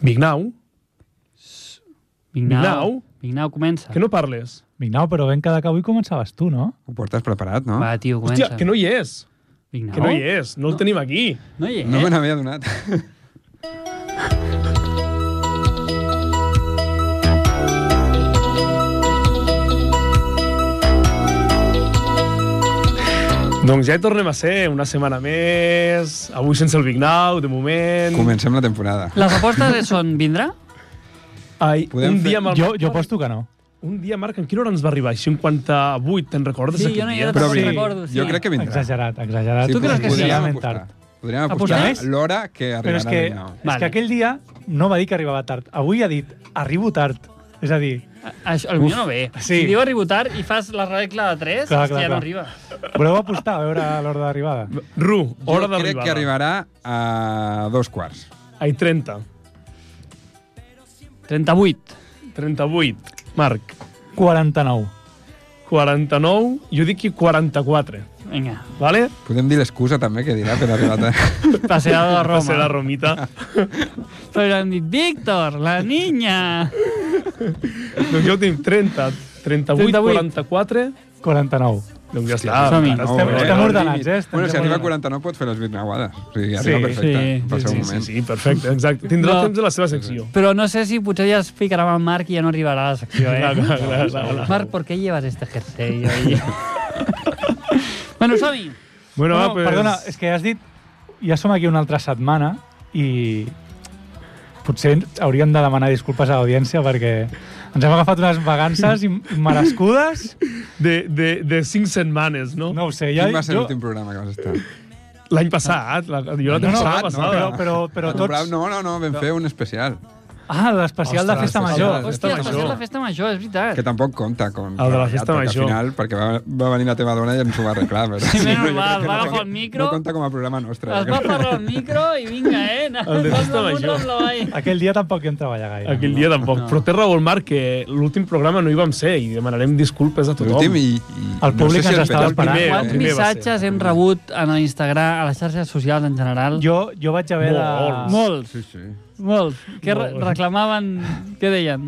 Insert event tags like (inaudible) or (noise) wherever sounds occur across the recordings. Vignau, Vignau. Vignau. Vignau, comença. que no parles. Vignau, però vam quedar que avui començaves tu, no? Ho portes preparat, no? Va, tio, comença. Hòstia, que no hi és. Vignau? Que no hi és. No el tenim aquí. No hi eh? és. No me n'havia adonat. Doncs ja hi tornem a ser, una setmana més, avui sense el Vignau, de moment... Comencem la temporada. Les apostes són vindrà? Ai, Podem un dia, fer- amb el... Jo, jo aposto que no. un dia, Marc, en quina hora ens va arribar? 58, te'n recordes? Sí, aquell jo no hi dia? era Però Sí, sí, recordo, sí. jo crec que vindrà. Exagerat, exagerat. Tu creus que sí? podríem Realment apostar. tard. Podríem Apostar? apostar l'hora que Però és arribarà que, Vignau. és Vale. que aquell dia no va dir que arribava tard. Avui ha dit, arribo tard. És a dir, Això, el millor no ve. sí. Si diu arribo tard i fas la regla de 3, Clar, clar, clar, ja no clar. arriba. voleu apostar a veure l'hora d'arribada? Ru, hora jo crec d'arribada. que arribarà a dos quarts. Ai, 30. 38. 38. Marc, 49. 49, jo dic que 44. Vinga, Vale? Podem dir l'excusa també que dirà per arribar tard. passeada de Va ser la Roma. Romita. Però hem dit, Víctor, la niña. doncs jo tinc 30, 38, 38. 44... 49. Doncs ja està. Hòstia, som-hi. Estem- bé. estem ordenats, eh? Estem Bueno, si arriba a ordenats. 49 pot fer les virnauades. O sigui, Sí, arriba perfecte. sí, pel seu Sí, sí, moment. sí, perfecte, exacte. Tindrà No. temps de la seva secció. Però no sé si potser ja es ficarà amb el Marc i ja no arribarà a la secció, eh? Clar, clar, clar, clar. Marc, ¿por qué llevas este jersey hoy? (laughs) bueno, Sami, Bueno, va, Bueno, pues... Perdona, és que has dit... Ja som aquí una altra setmana i potser hauríem de demanar disculpes a l'audiència perquè ens hem agafat unes vacances im- immerescudes. de, de, de cinc setmanes, no? no. No ho sé, ja... Quin va ser jo- l'últim programa que vas estar? L'any passat, la, jo la No, no, temporada no, passada. però, però, però La temporada- tots... No, no, no, vam fer un especial. Ah, l'especial de Ostres, Festa especial. Ostres. hòstia, Major. Festa has passat Major. la festa major, és veritat. Que tampoc compta com... El de la festa perquè major. Al final, perquè va, va venir la teva dona i ens ho va (laughs) arreglar. Però... Sí, menys jo crec mal, va que no agafar el compta- micro. No compta com a programa nostre. eh? Es va parlar al micro i vinga, eh? El de festa major. Aquell dia tampoc hi hem treballat gaire. Aquell dia tampoc. No. Però té raó el Marc, que l'últim programa no hi vam ser i demanarem disculpes a tothom. L'últim i, i... El públic ens estava petarà. esperant. primer, eh? el Quants primer va ser. missatges hem rebut en Instagram, a les xarxes socials en general? Jo, jo vaig haver Molts. de... Molts, Sí, sí. molts. Que re Molts. reclamaven... Què deien?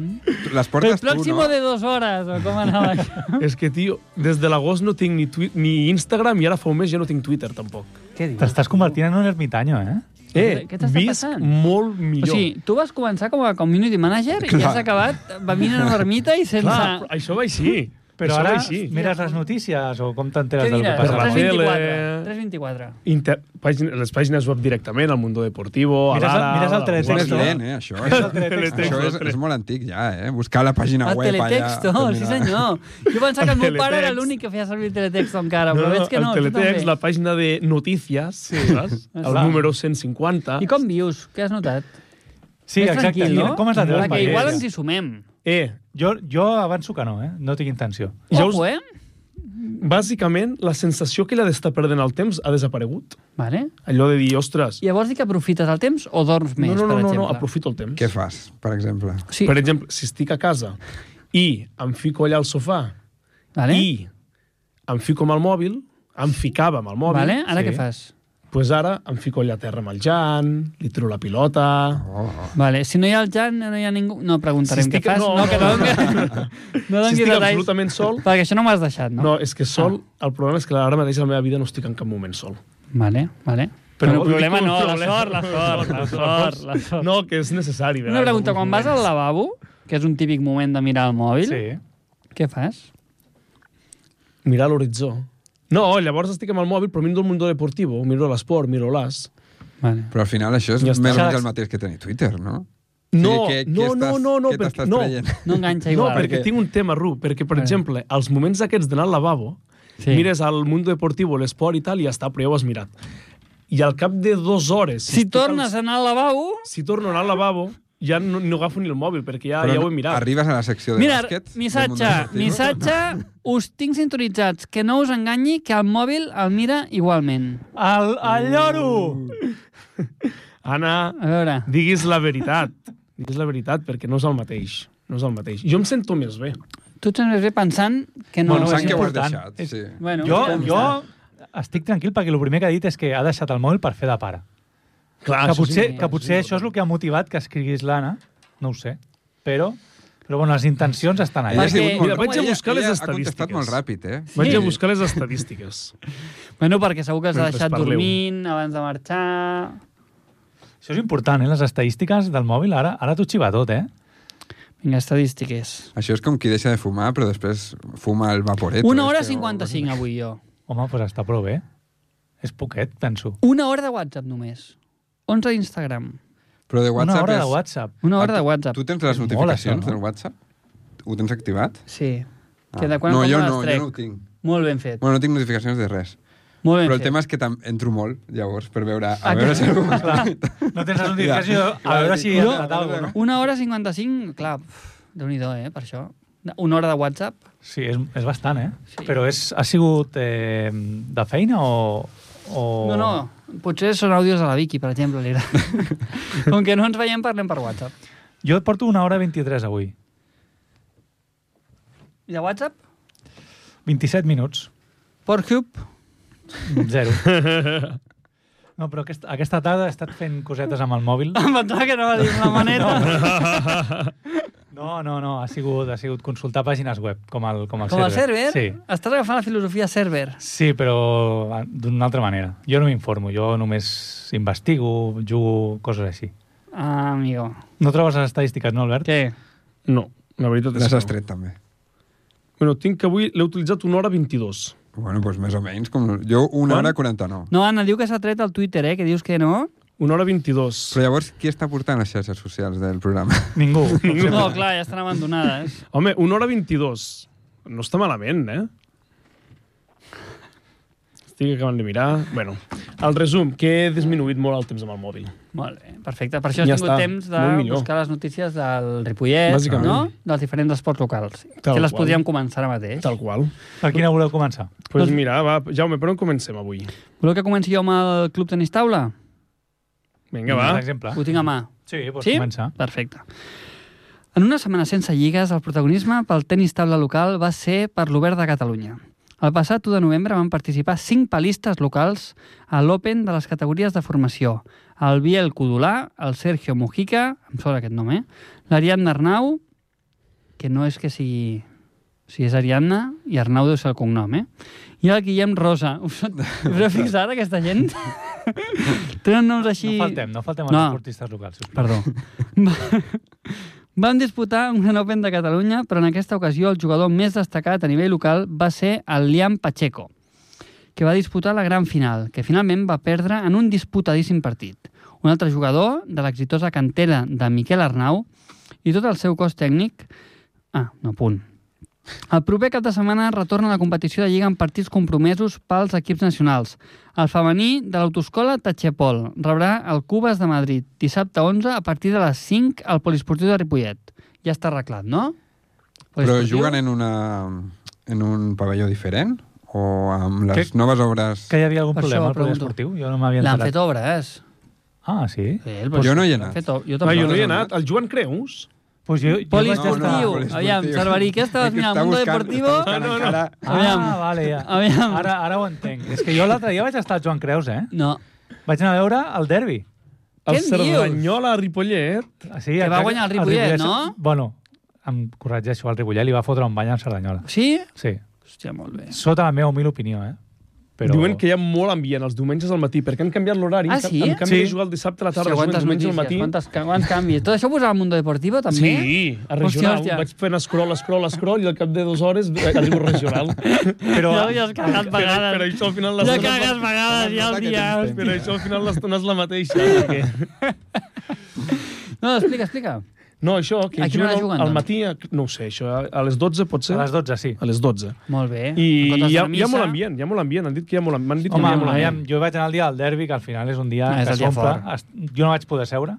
Les El portes tu, pròximo no? de dos hores, o com (laughs) anava això? És que, tio, des de l'agost no tinc ni, twi- ni Instagram i ara fa un mes ja no tinc Twitter, tampoc. Què dius? T'estàs convertint en un ermitanyo, eh? Eh, Què t'està visc passant? molt O millor. sigui, tu vas començar com a community manager i Clar. has acabat venint a una ermita i sense... Clar, però això va així. Però això ara va així. mires les notícies o com Què t'enteres del que diràs? Per la passa? tele. 324. 324. Inter... Pàgin... Les pàgines web directament, al Mundo Deportivo, a Mires el- l'Ara... mires el a la És més teletexto. Vanguardia. lent, eh, això. El Això teletexto. és, és molt antic ja, eh? Buscar la pàgina Ah, web allà. teletexto, sí terminar. senyor. Jo (laughs) pensava que el meu pare era Teletext. l'únic que feia servir el teletexto encara, No, però no, veig que no, el tu també. teletext, la pàgina de notícies, sí. (laughs) saps? El Clar. número 150. I com vius? Què has notat? Sí, Més exacte. tranquil, Mira, no? Com és la teva que igual ens experiència? hi sumem. Eh, Jo, jo avanço que no, eh? No tinc intenció. Ja Ojo, us- eh? bàsicament, la sensació que ella d'estar perdent el temps ha desaparegut. Vale. Allò de dir, ostres, Llavors dir que aprofites el temps o dorms més, no, no, no, per no, exemple? no, aprofito el temps. Què fas, per exemple? Sí, Per exemple, si estic a casa i em fico allà al sofà vale? i em fico amb el mòbil, em ficava amb el mòbil, vale? Ara sí. què fas? pues ara em fico allà a terra amb el Jan, li tiro la pilota... Oh, oh. Vale, si no hi ha el Jan, no hi ha ningú... No preguntarem Si estic- què fas. no, no, que no, no, (laughs) no, no si donis estic detalls. absolutament sol... Perquè això no m'has deixat, no? Ah. No, és que sol... El problema és que ara mateix a la meva vida no estic en cap moment sol. Vale, vale. Però Però ho el problema dic com no, un la problema. sort, la (laughs) sort, la sort, la sort. No, que és necessari. Una pregunta, quan vas al lavabo, que és un típic moment de mirar el mòbil, Sí. què fas? Mirar l'horitzó. No, llavors estic amb el mòbil, però miro el Mundo Deportivo, miro l'esport, miro l'as. Vale. Però al final això és Ja està. més o menys el mateix que tenir Twitter, no? No, o sigui, què, no, què estàs, no, no, no, Què perquè- t'estàs no. traient? No enganxa No, igual. perquè Perquè- tinc un tema, Ru, perquè, per Vale. exemple, els moments aquests d'anar al lavabo, Sí. sí. mires al Mundo Deportivo, l'esport i tal, i ja està, però ja ho has mirat. I al cap de dues hores... Si estic tornes Al... a anar al lavabo... Si torno a anar al lavabo, ja no, no agafo ni el mòbil, perquè ja, Però ja ho no- he mirat. Arribes a la secció de Mira, bàsquet... del Mundo missatge, Deportivo? missatge, us tinc sintonitzats, que no us enganyi, que el mòbil el mira igualment. El, Mm. el lloro! Anna, A veure, diguis la veritat. diguis la veritat, perquè no és el mateix. No és el mateix. Jo em sento més bé. tu et sents més bé pensant que no... Bueno, Pensant és que ho has important. deixat, És- sí. Bueno, doncs Jo, ja està. jo estic tranquil perquè el primer que ha dit és que ha deixat el mòbil per fer de pare. Clar, Ah, que això és potser, important, que potser això és el que ha motivat que escriguis l'Anna, no ho sé, però, però bueno, les intencions estan allà. Ella ha sigut Perquè- molt Mira, vaig a ràpida. buscar les Ella Ha estadístiques. contestat molt ràpid, eh? important. Vaig Sí. a buscar les estadístiques. Bueno, perquè segur que has Mentre deixat parleu. dormint abans de marxar... Això és important, eh? Les estadístiques del mòbil, ara, ara t'ho xiva tot, eh? Vinga, estadístiques. Això és com qui deixa de fumar, però després fuma el vaporet. eh? Una hora 55 avui jo. Home, doncs està prou bé. És poquet, penso. Una hora de WhatsApp només. 11 d'Instagram. Però de WhatsApp Una hora és... de WhatsApp. Una hora Ah, de tu- WhatsApp. Tu tens les És molt, notificacions això, no? del WhatsApp? Ho tens activat? Sí. Que de quan Ah. no, en jo quan les no, jo trec. no ho tinc. Molt ben fet. Bueno, no tinc notificacions de res. Molt ben Però el fet. tema és que tam- entro molt, llavors, per veure... A Ah, veure si algú... Clar, no (laughs) tens la notificació, a clar, veure dic, si no, no, a veure. no? Una hora 55, clar, uf, déu-n'hi-do, eh, per això. Una hora de WhatsApp. Sí, és, és bastant, eh? Sí. Sí. Però és, ha sigut eh, de feina o... o... Oh. No, no, potser són àudios de la Vicky, per exemple. Li agrada. (laughs) Com que no ens veiem, parlem per WhatsApp. Jo porto una hora 23 avui. I de WhatsApp? 27 minuts. Pornhub? (laughs) Zero. (laughs) No, però aquesta, aquesta tarda he estat fent cosetes amb el mòbil. Em pensava que anava a dir una manera. (laughs) No, no, no, ha sigut, ha sigut consultar pàgines web, com el, com el Com el server? server. Estàs agafant la filosofia server. Sí, sí però ah, d'una altra manera. Jo no m'informo, jo només investigo, jugo, coses així. Ah, amigo. No trobes les estadístiques, no, Albert? Què? No, la veritat és Les que has tret, també. no. Bueno, tinc que avui l'he utilitzat una hora 22. Bueno, doncs més o menys. Com... Jo una Quan? hora 49. No, Anna, diu que s'ha tret el Twitter, eh? Que dius que no. Una hora 22. Però llavors, qui està portant les xarxes socials del programa? Ningú. No, clar, ja estan abandonades. Home, una hora 22. No està malament, eh? Estic acabant de mirar. Bueno, el resum, que he disminuït molt el temps amb el mòbil. Molt bé, perfecte. Per això has Ja ja tingut està, temps de molt millor. buscar les notícies del Ripollet, Bàsicament. no? dels diferents esports locals, Tal que les qual. podríem començar ara mateix. Tal qual. Per quina voleu començar? Doncs pues mira, va, Jaume, per on comencem avui? Voleu que comenci jo amb el Club Tenis Taula? Vinga, va. Per exemple. Ho tinc a mà. Sí, doncs Sí? comença. Perfecte. En una setmana sense lligues, el protagonisme pel tennis taula local va ser per l'Obert de Catalunya. El passat 1 de novembre van participar 5 palistes locals a l'Open de les categories de formació. El Biel Codolà, el Sergio Mujica, em sona aquest nom, eh? L'Ariadna Arnau, que no és que sigui... Si és Ariadna, i Arnau deu ser el cognom, eh? I el Guillem Rosa. Us, (laughs) us heu fixat, aquesta gent? (laughs) Tenen noms així... No faltem, no faltem als No. esportistes locals. sisplau. Perdó. Va- (laughs) Vam disputar un Gran Open de Catalunya, però en aquesta ocasió el jugador més destacat a nivell local va ser el Liam Pacheco, que va disputar la gran final, que finalment va perdre en un disputadíssim partit. Un altre jugador de l'exitosa cantera de Miquel Arnau i tot el seu cos tècnic... Ah, no, punt. El proper cap de setmana retorna la competició de Lliga amb partits compromesos pels equips nacionals. El femení de l'autoescola Tachepol rebrà el Cubes de Madrid dissabte 11 a partir de les 5 al Poliesportiu de Ripollet. Ja està arreglat, no? Però Poliesportiu? juguen en, una, en un pavelló diferent? O amb les noves obres... Que hi havia algun Per això problema al pregunto. poliesportiu? Jo no m'havia L'han enterat. fet obres. Ah, sí? Sí, Pues jo no hi he anat. Fet, o- jo Va, tampoc. jo no hi he no. anat. Doncs El Joan Creus? Pues jo, jo vaig Poliesportiu. estar... No, no, poliesportiu. Aviam, Cerverí, què estaves És que mirant? està Mundo buscant- Deportivo? està buscant No, no. encara. Ah, Aviam. vale, ja. Aviam. Ara, ara ho entenc. És que jo l'altre dia vaig estar al Joan Creus, eh? No. Vaig anar a veure el derbi. El Què en dius? Cerdanyola a Ripollet? Sí, Que el- va guanyar el Ripollet, no? Bueno, em corregeixo, el Ripollet li va fotre un bany al Cerdanyola. Sí? Sí, Hòstia, molt bé. sota la meva humil opinió, eh? Però... Diuen que hi ha molt ambient els diumenges al matí, perquè han canviat l'horari. Ah, sí? En canvi, Sí. de jugar el dissabte a la Hòstia, tarda, juguen quantes diumenge notícies, al matí. quantes, quants canvis. Tot això ho posava al Mundo Deportivo, també? Sí, a regional. Hòstia, hòstia. Vaig fent scroll, scroll, scroll, i al cap de dues hores eh, arribo a (laughs) regional. Però, Ja havies cagat Per, vegades. per això al final ja l'estona... cagues vegades, ja el Nota que dia. tens Per això al final l'estona és la mateixa. Perquè... No, explica, explica. No, això, que A quina hora juguen, al doncs? matí, a- no ho sé, això, a- a les 12 pot ser? a les 12, sí. A les 12. Molt bé. I En comptes hi ha, d'anar a hi ha molt missa- ambient, hi ha molt ambient. Han dit que hi ha molt ambient. M'han dit Home, que hi ha molt ambient. aviam, jo vaig anar el dia del derbi, que al final és un dia Ah, és que el dia s'omple. fort. Es- Jo no vaig poder seure,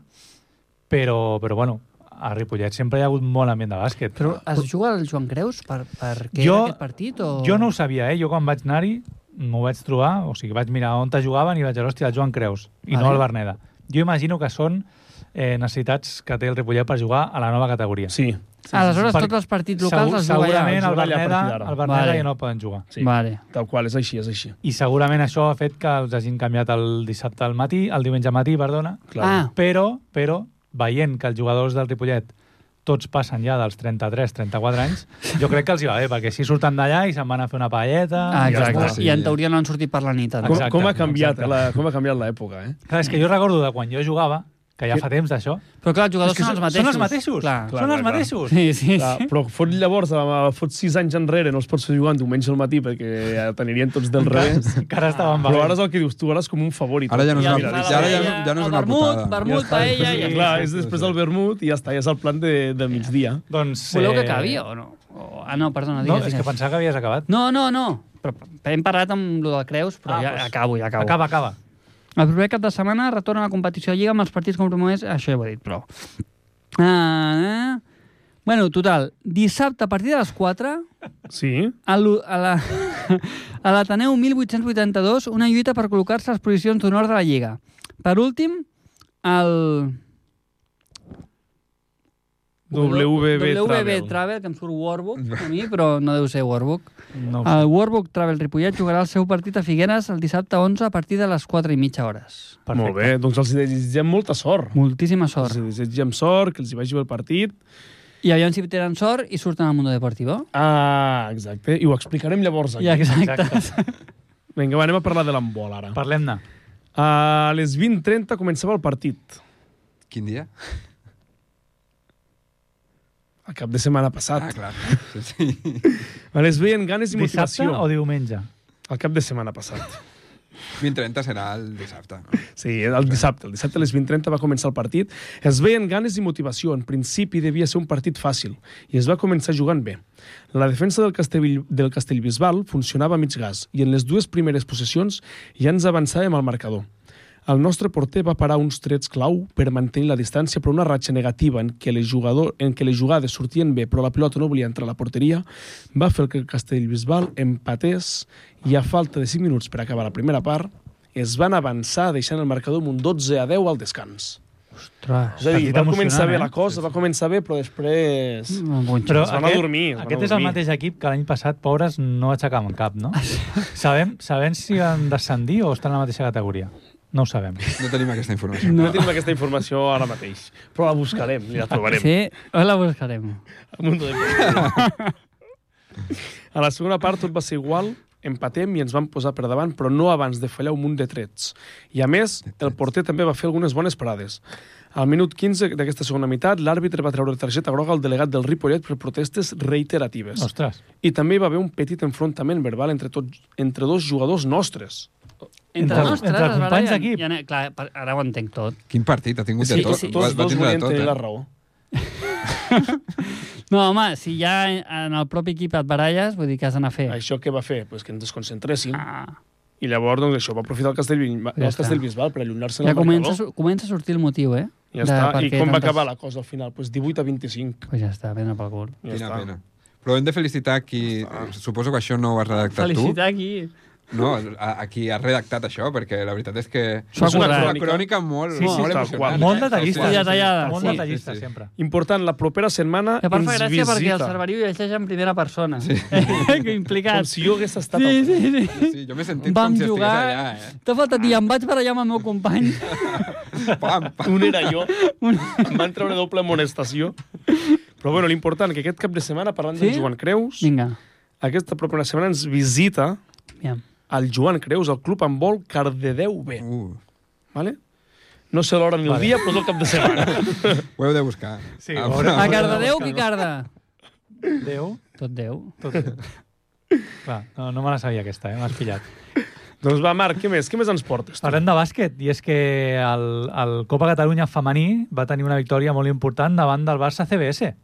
però, però bueno, a Ripollet sempre hi ha hagut molt ambient de bàsquet. Però es juga el Joan Creus per, per què Jo- era aquest partit? O... Jo no ho sabia, eh? Jo quan vaig anar-hi m'ho vaig trobar, o sigui, vaig mirar on te jugaven i vaig dir, hòstia, el Joan Creus, i Vale. no el Berneda. Jo imagino que són eh, necessitats que té el Ripollet per jugar a la nova categoria. Sí. Sí, Aleshores, Per- tots els partits locals Segur, es jugaran. segurament es el juga allà a Berneda, partir d'ara. el Berneda Vale. ja no poden jugar. sí. Vale. Tal qual, és així, és així. I segurament això ha fet que els hagin canviat el dissabte al matí, el diumenge al matí, perdona, Ah, però, però veient que els jugadors del Ripollet tots passen ja dels 33-34 anys, jo crec que els hi va bé, perquè si surten d'allà i se'n van a fer una paelleta... ah i es exacte. mouen. sí. I en teoria no han sortit per la nit. ara. Com, Exacte, com ha canviat exacte. la, com ha canviat l'època, eh? Clar, és que jo recordo de quan jo jugava, que ja fa temps d'això, Però clar, els jugadors és que són els mateixos. són els mateixos. Clar. Clar, són clar, els clar. mateixos. Sí, sí, Clar, sí. Ah, però fot llavors, eh, fot sis anys enrere, no els pots fer jugar un diumenge al matí perquè ja tenirien tots del revés. Encara estaven Però ara és valents. el que dius tu, ara és com un favorit. Ara ja no és Ja una, mira, ja, mira, ara ja, paella, ja no és el una vermut, putada. vermut. Vermut, paella, I, ja. clar, Sí, és sí, després sí. del vermut i ja està, ja és el plan de, de migdia. Doncs, Voleu que eh, acabi o no? O... Ah, no, perdona, No, digues, és digues. que pensava que havies acabat. No, no, no. Però hem parlat amb lo del Creus, però Ah, ja doncs. acabo, ja acabo. Acaba, acaba. El proper cap de setmana retorna a la competició de Lliga amb els partits compromès... Això ja ho he dit, però... Ah, eh? Bueno, total, dissabte a partir de les 4 Sí? a l'U- a la- (laughs) a l'Ateneu 1882 una lluita per col·locar-se a les posicions d'honor de la Lliga. Per últim, el... WB WB Travel. Travel, que em surt Warbook a mi, però no deu ser Warbook. No ho sé. El Warbook Travel Ripollet jugarà el seu partit a Figueres el dissabte 11 a partir de les 4 i mitja hores. Perfecte. Molt bé, doncs els desitgem molta sort. Moltíssima Els sort. desitgem sort, que els hi vagi bé el partit. I aviam si tenen sort i surten al Mundo Deportivo. Ah, exacte. I ho explicarem llavors aquí. Ja, exacte. Vinga, va, anem a parlar de l'embol ara. Parlem-ne. A les 20.30 començava el partit. Quin dia? El cap de setmana passat. Ah, clar. Sí, sí. (laughs) A les veien ganes i Dissabte motivació. o diumenge? El cap de setmana passat. 20.30 serà el dissabte. Sí, el dissabte. El dissabte a les 20.30 va començar el partit. Es veien ganes i motivació. En principi devia ser un partit fàcil i es va començar jugant bé. La defensa del, Castell, del Castellbisbal funcionava a mig gas i en les dues primeres possessions ja ens avançàvem al marcador. El nostre porter va parar uns trets clau per mantenir la distància per una ratxa negativa en què, les jugador, en què les jugades sortien bé però la pilota no volia entrar a la porteria, va fer que el Castellbisbal empatés i a falta de 5 minuts per acabar la primera part es van avançar deixant el marcador amb un 12 a 10 al descans. Ostres. És a dir, Partit va començar emocionant, bé eh? la cosa, va començar bé, però després... Però... Però Es van aquest, adormir, es van aquest és el adormir. mateix equip que l'any passat, pobres, no aixecàvem cap, no? (laughs) sabem, sabem si han descendir o estan a la mateixa categoria. No ho sabem. No tenim aquesta informació. No. no tenim aquesta informació ara mateix, però la buscarem i la trobarem. Sí, o la buscarem. A Mundo (laughs) Deportivo. A la segona part tot va ser igual, empatem i ens vam posar per davant, però no abans de fallar un munt de trets. I a més, el porter també va fer algunes bones parades. Al minut 15 d'aquesta segona meitat, l'àrbitre va treure targeta groga al delegat del Ripollet per protestes reiteratives. Ostres. I també hi va haver un petit enfrontament verbal entre, tot, entre dos jugadors nostres. Entre, Entre- nostres, entre es barallen. companys d'equip. Ja ne- clar, per- ara ho entenc tot. Quin partit ha tingut Sí, de tot? sí, Va- tots va dos tindre de volien tot, tenir la eh? raó. No, home, si ja en el propi equip et baralles, vull dir que has d'anar a fer. Això què va fer? Pues que ens desconcentréssim. Ah, I llavors, doncs, això va aprofitar el, Castell, Ja el està. Castellbisbal per allunyar-se ja del comença, a marcador. sur- comença a sortir el motiu, eh? Ja està. per I què com va tantes- acabar la cosa al final? Pues 18 a 25. Pues ja està, vena pel cul. Ja Quina està. pena. Però hem de felicitar qui... Suposo que això no ho has redactat Felicitar aquí. tu. No, a, a qui has redactat això, perquè la veritat és que... S'ho ha és una currat. crònica, molt, Sí, sí, molt eh? tal emocional. qual. Molt detallista. Sí, detallada, Molt sí. detallista, Sí, sí. sempre. Important, la propera setmana I a part fa ens gràcia visita. perquè el Cerveriu llegeix en primera persona. Sí. (laughs) que implicat. Com si eh? jo hagués estat... Sí, al- sí, sí. Sí, jo m'he sentit Vam com si jugar... estigués allà, T'ha faltat dir, em vaig barallar amb el meu (laughs) company. eh? Pam, pam. Un era (laughs) jo. Em van treure doble amonestació. Però bueno, l'important, que aquest cap de setmana, parlant sí? Sí? del Joan Creus, Vinga, aquesta propera setmana ens visita aviam. el Joan Creus, al Club Handbol Cardedeu B. Uh, Vale? No sé l'hora ni el Vale. dia, però és el cap de (laughs) setmana. ho heu de buscar. Sí, Ah, ho haurem- A però- Cardedeu, Picarda. Déu, Tot Déu. tot bé. Clar, no, no me la sabia aquesta, eh? M'has pillat. doncs va, Marc, què més? Què més ens portes? Tu? Parlem de bàsquet, i és que el, el Copa Catalunya femení va tenir una victòria molt important davant del Barça CBS.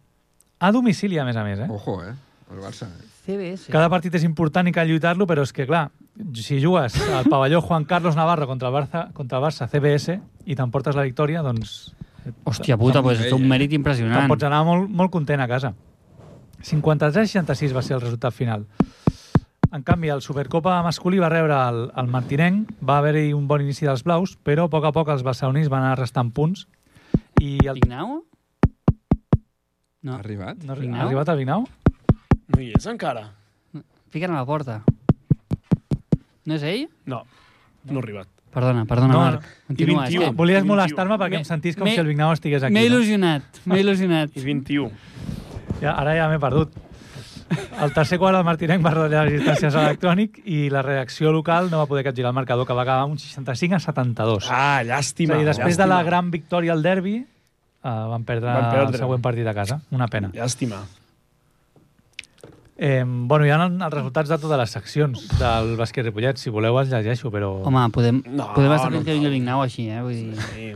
A domicili, a més a més, eh? Ojo, eh? El Barça. CBS. Cada partit és important i cal lluitar-lo, però és que, clar, si jugues al pavelló Juan Carlos Navarro contra el Barça, contra el Barça CBS i t'emportes la victòria, doncs Hòstia puta, Amb pues, ell, és un eh? mèrit te'n impressionant. pots anar molt, molt content a casa. 53-66 va ser el resultat final. En canvi, el Supercopa masculí va rebre el, el Martinenc, va haver-hi un bon inici dels blaus, però a poc a poc els barcelonins van anar restant punts i I el... Ignau? Ha No, arribat? No, Vignau? ha arribat al Vignau? No hi és encara? fiquen a la porta. No és ell? No, no ha arribat. Perdona, perdona, No, Marc. I Continua, és 21. que Volies I molestar-me perquè Me- em sentís com me- si el Vignau estigués aquí. m'he no? il·lusionat, m'he il·lusionat. I 21. Ja, ara ja m'he perdut. El tercer quart, el Martinenc va retallar les distàncies a l'electrònic i la reacció local no va poder capgirar el marcador, que va acabar un 65 a 72. Ah, és a llàstima. dir, després llàstima. de la gran victòria al derbi, eh, van, perdre Van perdre. el següent partit a casa. Una pena. Llàstima. Eh, bueno, hi ha els resultats de totes les seccions del bàsquet Ripollet. Si voleu els llegeixo, però... Home, podem, No, podem estar no fent que cal. vingui el Vignau així, eh? Vull dir... Sí.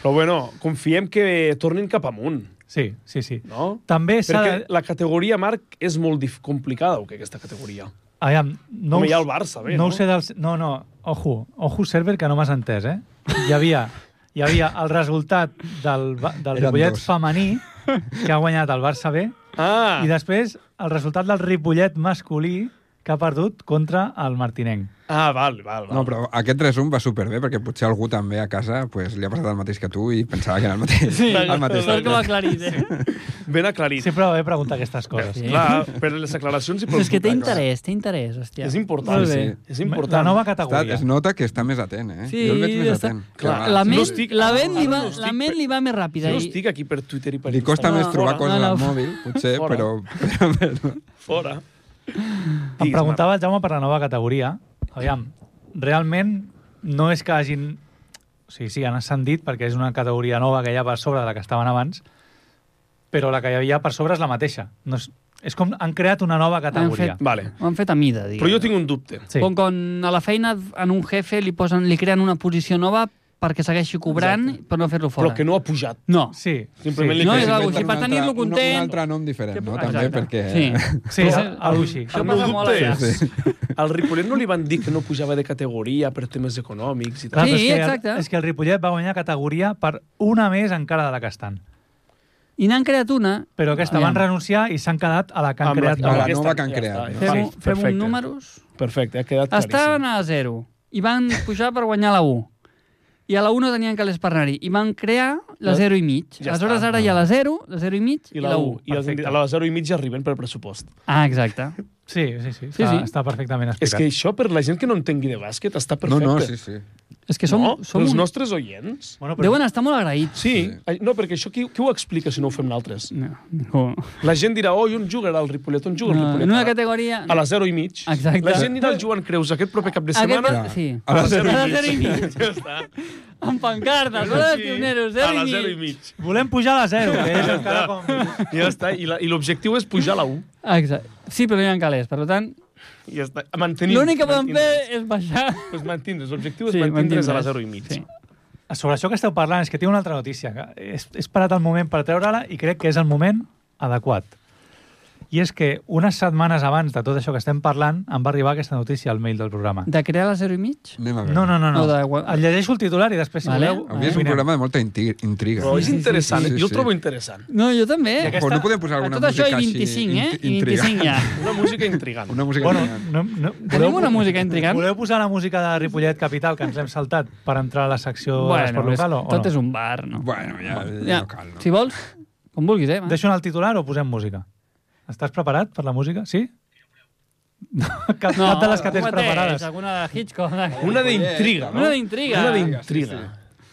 Però bueno, confiem que tornin cap amunt, Sí, sí, sí. no? També s'ha de... Perquè la categoria, Marc, és molt dif- complicada, o què, aquesta categoria? Aviam, no Home, us- hi ha el Barça, bé, no? no? ho sé dels... No, no, ojo, ojo server que no m'has entès, eh? Hi havia, hi havia el resultat del, ba- del Eren Ripollet dos. femení que ha guanyat el Barça B Ah, i després el resultat del Ripollet masculí que ha perdut contra el Martinenc. ah val, val, val. No, però aquest resum va superbé, perquè potser algú també a casa pues, li ha passat el mateix que tu i pensava que era el mateix. el mateix. Sort que ho ha aclarit, eh? Ben aclarit. Sempre va bé preguntar aquestes coses. Sí. Clar, per les aclaracions i pel És que té contacte. interès, té interès, hòstia. És important. Molt bé. Sí, sí. És La important. nova Està, categoria. es nota que està més atent, eh? Sí, jo el veig més està- atent. que clar, abans. La ment, No estic- la ment li va, no estic la ment pe- li va més ràpida. Jo i- estic aquí per Twitter i per Li costa No, més trobar fora, coses no, no. al mòbil, potser, Fora. però... però- Fora. Em Digues, preguntava el Jaume per la nova categoria. Aviam, realment no és que hagin... O sigui, sí, han ascendit perquè és una categoria nova que hi ha per sobre de la que estaven abans, però la que hi havia per sobre és la mateixa. No és, és com han creat una nova categoria. fet- Vale. Ho han fet a mida, diguem. Però jo tinc un dubte. Sí. Com quan a la feina en un jefe li, posen, li creen una posició nova perquè segueixi cobrant per no fer-lo fora. Però que no ha pujat. No. Sí, Simplement sí. li No, és crec. algo així, Inventen per un tenir-lo altre- content. Un, un altre nom diferent, no? Exacte. També perquè... Sí. Eh. Sí, Però- al- algo així. Això El meu passa molt dubte allà. és... Al Ripollet no li van dir que no pujava de categoria per temes econòmics i Clar, Ah, tal. però és Sí, que el- exacte. És que el Ripollet va guanyar categoria per una més encara de la que estan. I n'han creat una... Però aquesta van Aviam. renunciar renunciar i s'han quedat a la que han Amb creat. la- amb nova. la nova aquesta- que han ja creat, està, no? ja Fem, està. fem Perfecte. uns números... Perfecte, ha quedat Estaven claríssim. a zero i van pujar per guanyar la 1. I a la 1 no tenien que l'espernar-hi. I van crear la La- 0 i mig. Ja Ja Aleshores, està. ara hi ha la 0, la 0 i mig i, I la 1. I els, Perfecte. a la 0 i mitja arriben per pressupost. Ah, exacte. Sí, sí, sí. Sí, Està, sí. està perfectament És explicat. que això, per la gent que no entengui de bàsquet, està No, perfecte. no, sí, sí. És que som... no? som els un- nostres oients? Bueno, però- Deuen estar molt agraïts. Sí. Ai, No, perquè això qui, qui ho explica si no ho fem nosaltres? No, no. La gent dirà, oi, on jugarà el Ripollet? On juga el no Ripollet? en una Ara, categoria... A les 0 i mig. Exacte. La gent anirà al Joan Creus aquest proper cap de Aquest... setmana. va- Sí. A les zero A i les 0 mig. i mig. Ja està. (laughs) Amb pancartes, sí. dels Sí, pioneros, a 0 les i 0 i mig. mig. Volem pujar a la 0, que és encara com... Ja està. I la- I l'objectiu és pujar a la 1. Exacte. Sí, però no hi ha calés. Per tant, Ja està. Mantenir. l'únic que poden fer mantindre's. és baixar. Pues mantindre's. L'objectiu és Sí, mantindre's a mantindre's. la 0 i mig. Sí. (laughs) Sobre això que esteu parlant, és que tinc una altra notícia. que He, he esperat el moment per treure-la i crec que és el moment adequat. I és que unes setmanes abans de tot això que estem parlant em va arribar aquesta notícia al mail del programa. De crear la 0 i mig? Anem a veure. No, no, no. no. O de- El llegeixo el titular i després, si Vale. voleu... Avui és un opinem. programa de molta inti- intriga. Però és Sí, sí, interessant. eh? sí, sí, Jo el sí. trobo interessant. No, jo també. I aquesta- Però Pues no podem posar alguna a tot això música i així 25, eh? int- I intriga. 25 ja. Una música (laughs) intrigant. Una música Bueno, intrigant. no, no, Tenim una música intrigant. Voleu posar la música de Ripollet Capital que ens hem saltat per entrar a la secció bueno, de l'esport és- local o, o tot no? és un bar, no? Bueno, ja, ja, Ja, no cal, no? Si vols, com vulguis, eh? Marc? Deixo anar el titular o posem música? Estàs preparat per la música? Sí? (laughs) Cap, cap de les que tens alguna preparades. Alguna de Hitchcock. Una d'intriga, no? Una d'intriga. Una d'intriga.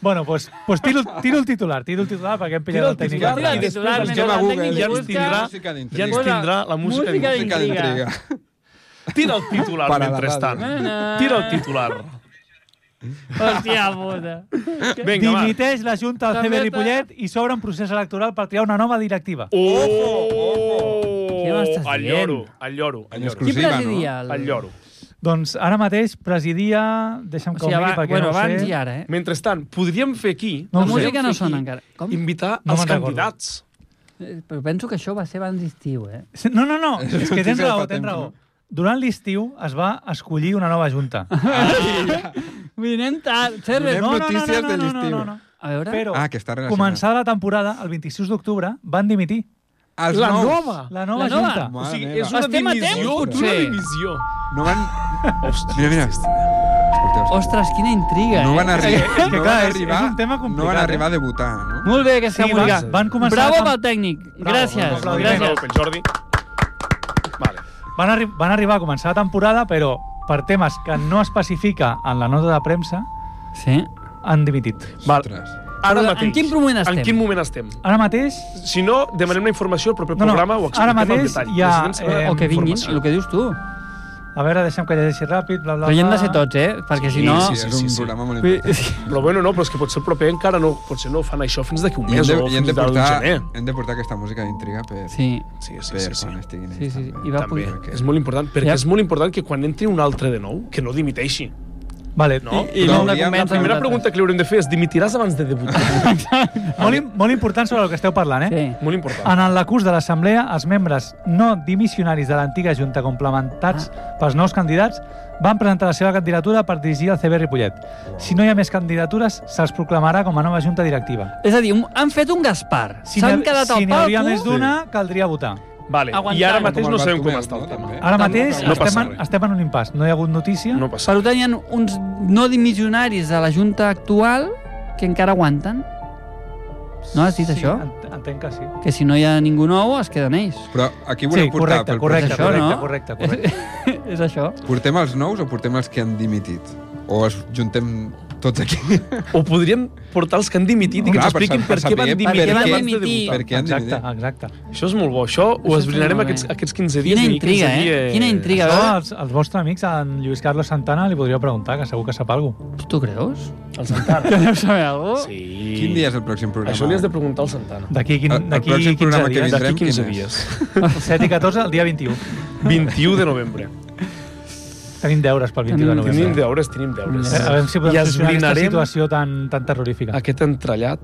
Bueno, doncs pues tiro, tiro el titular, tiro el titular perquè hem pillat Tira el el tècnic. titular Tira i el Des- titular, després mentre busquem a el Google, tècnic Ja ens tindrà, ja busca. Música d'intriga. ens tindrà la música Música d'intriga. Música d'intriga. Tira el (laughs) titular Per a la mentrestant. ràdio. Na, na. Tira el titular. Hòstia puta. Vinga, va. Dimiteix la Junta del També CB te- Ripollet i s'obre un procés electoral per triar una nova directiva. Oh! Què m'estàs Al dient? lloro, al lloro, al En lloro. Qui Exclusiva, no? presidia? El... Al lloro. Doncs ara mateix presidia... O Deixa'm que ho sigui, miri abans, perquè bueno, no ho abans sé. i ara, eh? Mentrestant, podríem fer aquí... No La ho sé. música podríem fer no sona aquí encara. Com? Invitar No els me'n recordo. candidats. Eh, Però penso que això va ser abans d'estiu, eh? No, no, no, és que tens Notícia raó, fa tens temps, raó. no? Durant l'estiu es va escollir una nova junta. Vull dir, anem tard. Server, Donem no? No, no, no, notícies no, de no, no, l'estiu. no, no. A veure... Però, Ah, que està relacionat. començada la temporada, el 26 d'octubre, van dimitir. Els La nous. nova! La nova La nova? junta. Mare O sigui, meva. és una Estem a temps, dimissió, potser. d'una dimissió. No van... Hòstia. Mira, mira. Teus. Ostres, quina intriga, No eh? van arribar, És que no clar, van és- arribar, és un tema no van complicat, arribar eh? a debutar, no? Molt bé, que s'ha Sí, publicat. van- van començar Bravo com- pel tècnic. Bravo, gràcies, bravo, gràcies. Open, Jordi. Vale. Van, arri van arribar a començar la temporada, però per temes que no especifica en la nota de premsa, Sí. han dimitit. Val. Ostres. Ara Però en mateix. quin moment estem? En quin moment estem? Ara mateix, Si no, demanem la informació al proper No, no, programa o ara expliquem mateix el detall. hi ha, Necessitem saber eh, O que vinguin, informació. el que dius tu. a veure, deixem que llegeixi ràpid, bla, bla, bla... Però hi hem de ser tots, eh? Perquè si no... sí, sí, és un sí, sí. programa molt Vull- important. Però bueno, no, però és que potser el proper encara no, potser no ho fan això fins d'aquí un I hem mes de, o i hem fins de, del portar, gener. hem de pues, portar aquesta música d'intriga per, Sí, Sí, sí, per sí, sí. quan estiguin sí, ells. sí. sí. també. I va També, pujar. perquè- és molt important, perquè Ja. és molt important que quan entri un altre de nou, que no dimiteixi. Vale, No? I I, no Però hem de hauríem- La primera convèncer nosaltres. pregunta que li haurem de fer és dimitiràs abans de (laughs) debutar? molt, im- molt important sobre el que esteu parlant, eh? Sí. molt important. En el l'acús de l'Assemblea, els membres no dimissionaris de l'antiga Junta complementats Ah. pels nous candidats van presentar la seva candidatura per dirigir el CB Ripollet. Si no hi ha més candidatures, se'ls proclamarà com a nova Junta Directiva. És a dir, un- han fet un Gaspar. Si S'han n'hi- quedat si al eh? n'hi hauria més palco... d'una, caldria votar. Vale, i Aguantant. ara mateix Com el no sabem com Bartomeu, està el no, tema. també. Ara Tampoc mateix no passa estem, en, res. estem en un impàs. No hi ha hagut notícia. No passa Per res. tant, hi ha uns no dimissionaris de la Junta actual que encara aguanten. No has dit sí, això? ent- Entenc que sí. Que si no hi ha ningú nou, es queden ells. Però aquí volem Sí, portar... correcte, pel correcte, És això, correcte, no? correcte, correcte. (laughs) És això. Portem els nous o portem els que han dimitit? O els juntem tots aquí? O podríem portar els que han dimitit i que Clar, ens per expliquin sa- per per què van saber dimitir per què- abans de dimitir. debutar. per què han Exacte, dimitit? exacte. Això és molt bo. Això ho Això esbrinarem està molt aquests, bé. aquests 15 dies. Quina i dir quins intriga, eh? dies- Quina intriga. Això, A als, als vostres amics, en Lluís Carlos Santana, li podria preguntar, que segur que sap alguna cosa. veure, (laughs) tu creus? El Santana. Que deu saber alguna cosa? Sí. Quin dia és el pròxim programa? Això li has de preguntar al Santana. D'aquí quin- El- el d'aquí pròxim 15 programa que dies. (laughs) vindrà. D'aquí Sabem quin 15 és. dies. 7 i 14, el dia 21. 21 de novembre. Tenim deures pel 21 de Tenim- Tenim novembre. deures, tenim deures. Eh, A veure si I podem gestionar aquesta esbrinarem situació tan, tan terrorífica. aquest entrellat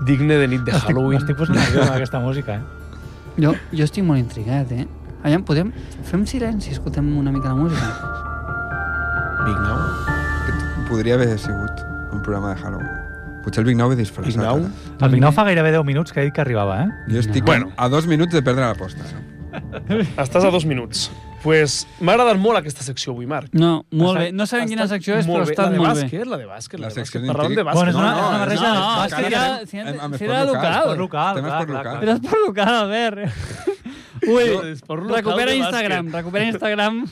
digne de nit de Halloween. M'estic posant nerviós amb aquesta música, eh? Jo, jo estic molt intrigat, eh? Allà podem... Fem silenci, escoltem una mica la música. Vignau. Podria haver sigut un programa de Halloween. Potser el Big Nou ve disfressat. Vignau. ara. El Vignau fa gairebé 10 minuts que ha dit que arribava, eh? Jo estic Bueno. bueno. a dos minuts de perdre l'aposta. eh? Estàs a dos minuts. Pues, M'ha agradat molt aquesta secció avui, Marc. No, molt Està- bé. No sabem quina estat secció és, molt però bé. està la de molt bé. bàsquet, La de bàsquet, la de La bàsquet. secció Parlàvem de d'intriga. bàsquet. Bueno, és una- és una és- barreja- és- no, és- és encara que ja- anem- si- anem- si esport era local. esport Esport local, Temes clar, esport clar, local. Però és per local, (laughs) Albert. Ui, és per local recupera de Instagram, bàsquet. recupera Instagram.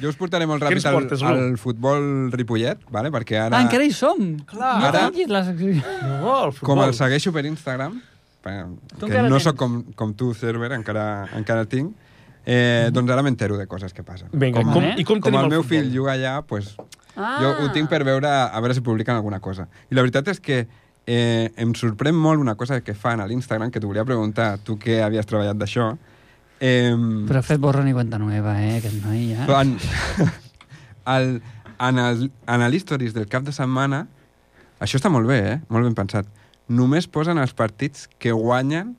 Jo us portaré molt Què ens ràpid al, portes, Bru? al futbol Ripollet, vale? perquè ara, Ah, encara hi som. Clar. No Ara- tanquis la secció. No, el futbol. com el segueixo per Instagram, perquè que encara no tens. sóc com, com tu, server, encara, encara el tinc, eh, doncs ara m'entero de coses que passen. Vinga, Com com, Mm-hmm. el- i com, Com tenim el meu futbol? fill juga allà, pues, Ah. jo ho tinc per veure a veure si publiquen alguna cosa. I la veritat és que eh, em sorprèn molt una cosa que fan a l'Instagram, que t'ho volia preguntar, tu que havies treballat d'això. Eh, Però ha fet borrón i cuenta nueva, eh, aquest noi, ja. en, el, en, el, en el Histories del cap de setmana, això està molt bé, eh? molt ben pensat, només posen els partits que guanyen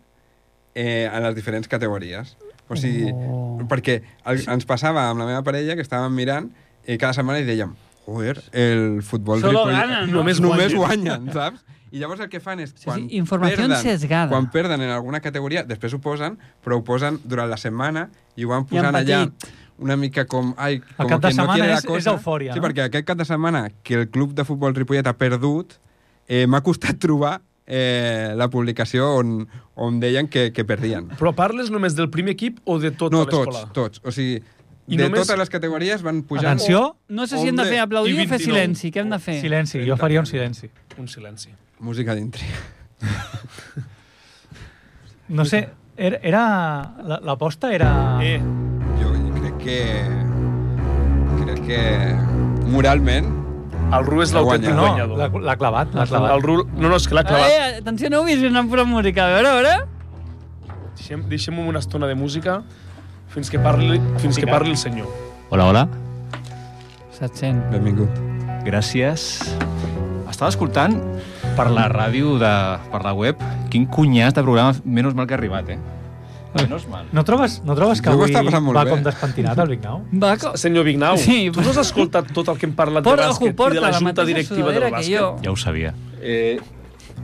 eh, en les diferents categories. O sigui, Oh. perquè el, ens passava amb la meva parella que estàvem mirant eh, cada setmana i dèiem joder, el futbol Solo Ripollet- ganen, no? només, Només només guanyen, saps? I llavors el que fan és, sí, quan informació perden, sesgada. quan perden en alguna categoria, després ho posen, però ho posen durant la setmana i ho I van han posant allà patit. una mica com... Ai, com cap de que no setmana tiene la és- cosa. és eufòria, Sí, no? perquè aquest cap de setmana que el club de futbol Ripollet ha perdut, eh, m'ha costat (laughs) trobar eh, la publicació on, on deien que, que perdien. Però parles només del primer equip o de tota No, l'escola? tots, tots. O sigui, I de només- totes les categories van pujant... Atenció, No sé si hem de Hombre, fer aplaudir i o fer 29. silenci, què hem de fer? silenci, jo faria un silenci. Un silenci. Música d'intriga. No sé, era... era la- L'aposta era... Eh, Jo crec que... Crec que moralment el Ru és Ha l'autèntic guanyat. No, guanyador. l'ha l'ha clavat, l'ha El clavat. Ru... No, no, és que l'ha clavat. Eh, atenció, no vull anar amb música, a veure, a veure. Deixem, deixem una estona de música fins que parli, fins que parli el senyor. Hola, hola. 700. Benvingut. Gràcies. Estava escoltant per la ràdio, de, per la web, quin cunyàs de programa, menys mal que ha arribat, eh? Menys mal. No trobes, no trobes que Jo ho avui estava passant molt va bé. com despentinat el Vignau? Va, co... Senyor Vignau, Sí, tu no has escoltat tot el que hem parlat Porta, de ojo, bàsquet i porta de la la junta mateixa directiva del sudadera que bàsquet? jo. Ja ho sabia. Eh,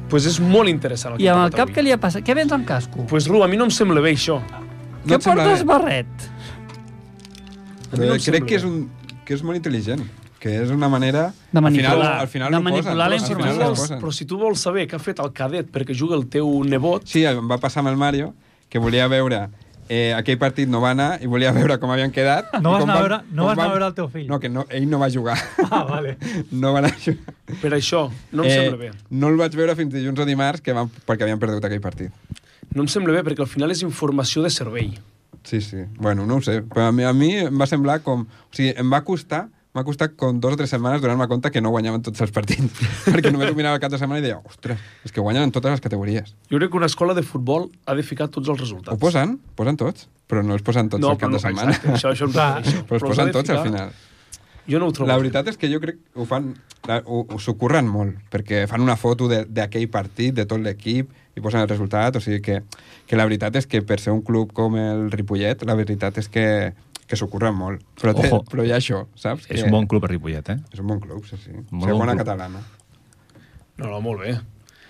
pues és molt interessant el que I amb hem el cap parlat que avui. li ha passat... Què vens amb casco? Pues Ru, a mi no em sembla bé això. Ah, Què et sembla portes bé? barret? A mi no Però em sembla Eh, crec que és, bé. un, que és molt intel·ligent. que és una manera... De manipular- al final, al final de ho posen, manipular la al final Però, informació. ho vols, posen. però si tu vols saber què ha fet el cadet perquè juga el teu nebot, Sí, em va passar amb el Mario, que volia veure... Eh, aquell partit no va anar i volia (laughs) veure com havien quedat. No i vas com anar a van- veure- no com vas anar a van- veure el teu fill. No, que no, ell no va jugar. (laughs) Ah, vale. no va anar a jugar. per això, no em Eh, sembla bé. No el vaig veure fins dilluns o dimarts, que van, perquè havien perdut aquell partit. No em sembla bé perquè al final és informació de servei. Sí, sí. Bueno, no ho sé. Però a mi, a mi em va semblar com... O sigui, em va costar m'ha costat com dues o tres setmanes donar-me compte que no guanyaven tots els partits. (laughs) perquè només ho mirava el cap de setmana i deia, ostres, és que guanyen en totes les categories. Jo crec que una escola de futbol ha de ficar tots els resultats. Ho posen, posen tots, però no els posen tots no, el cap però de setmana. Exacte, això, això em Clar. refereixo. (laughs) però els els ha posen de tots al ficar- final. Jo no ho trobo. La veritat és que jo crec que ho fan... la- ho- ho- S'ho curren molt, perquè fan una foto de- d'aquell partit, de tot l'equip, i posen el resultat, o sigui que, que la veritat és que per ser un club com el Ripollet, la veritat és que, que s'ho curren molt. Però, té, Ojo. però hi ha això, saps? És Que- un bon club, el Ripollet, eh? És un bon club, sí, sí. bon Segona club. catalana. No, no, molt bé.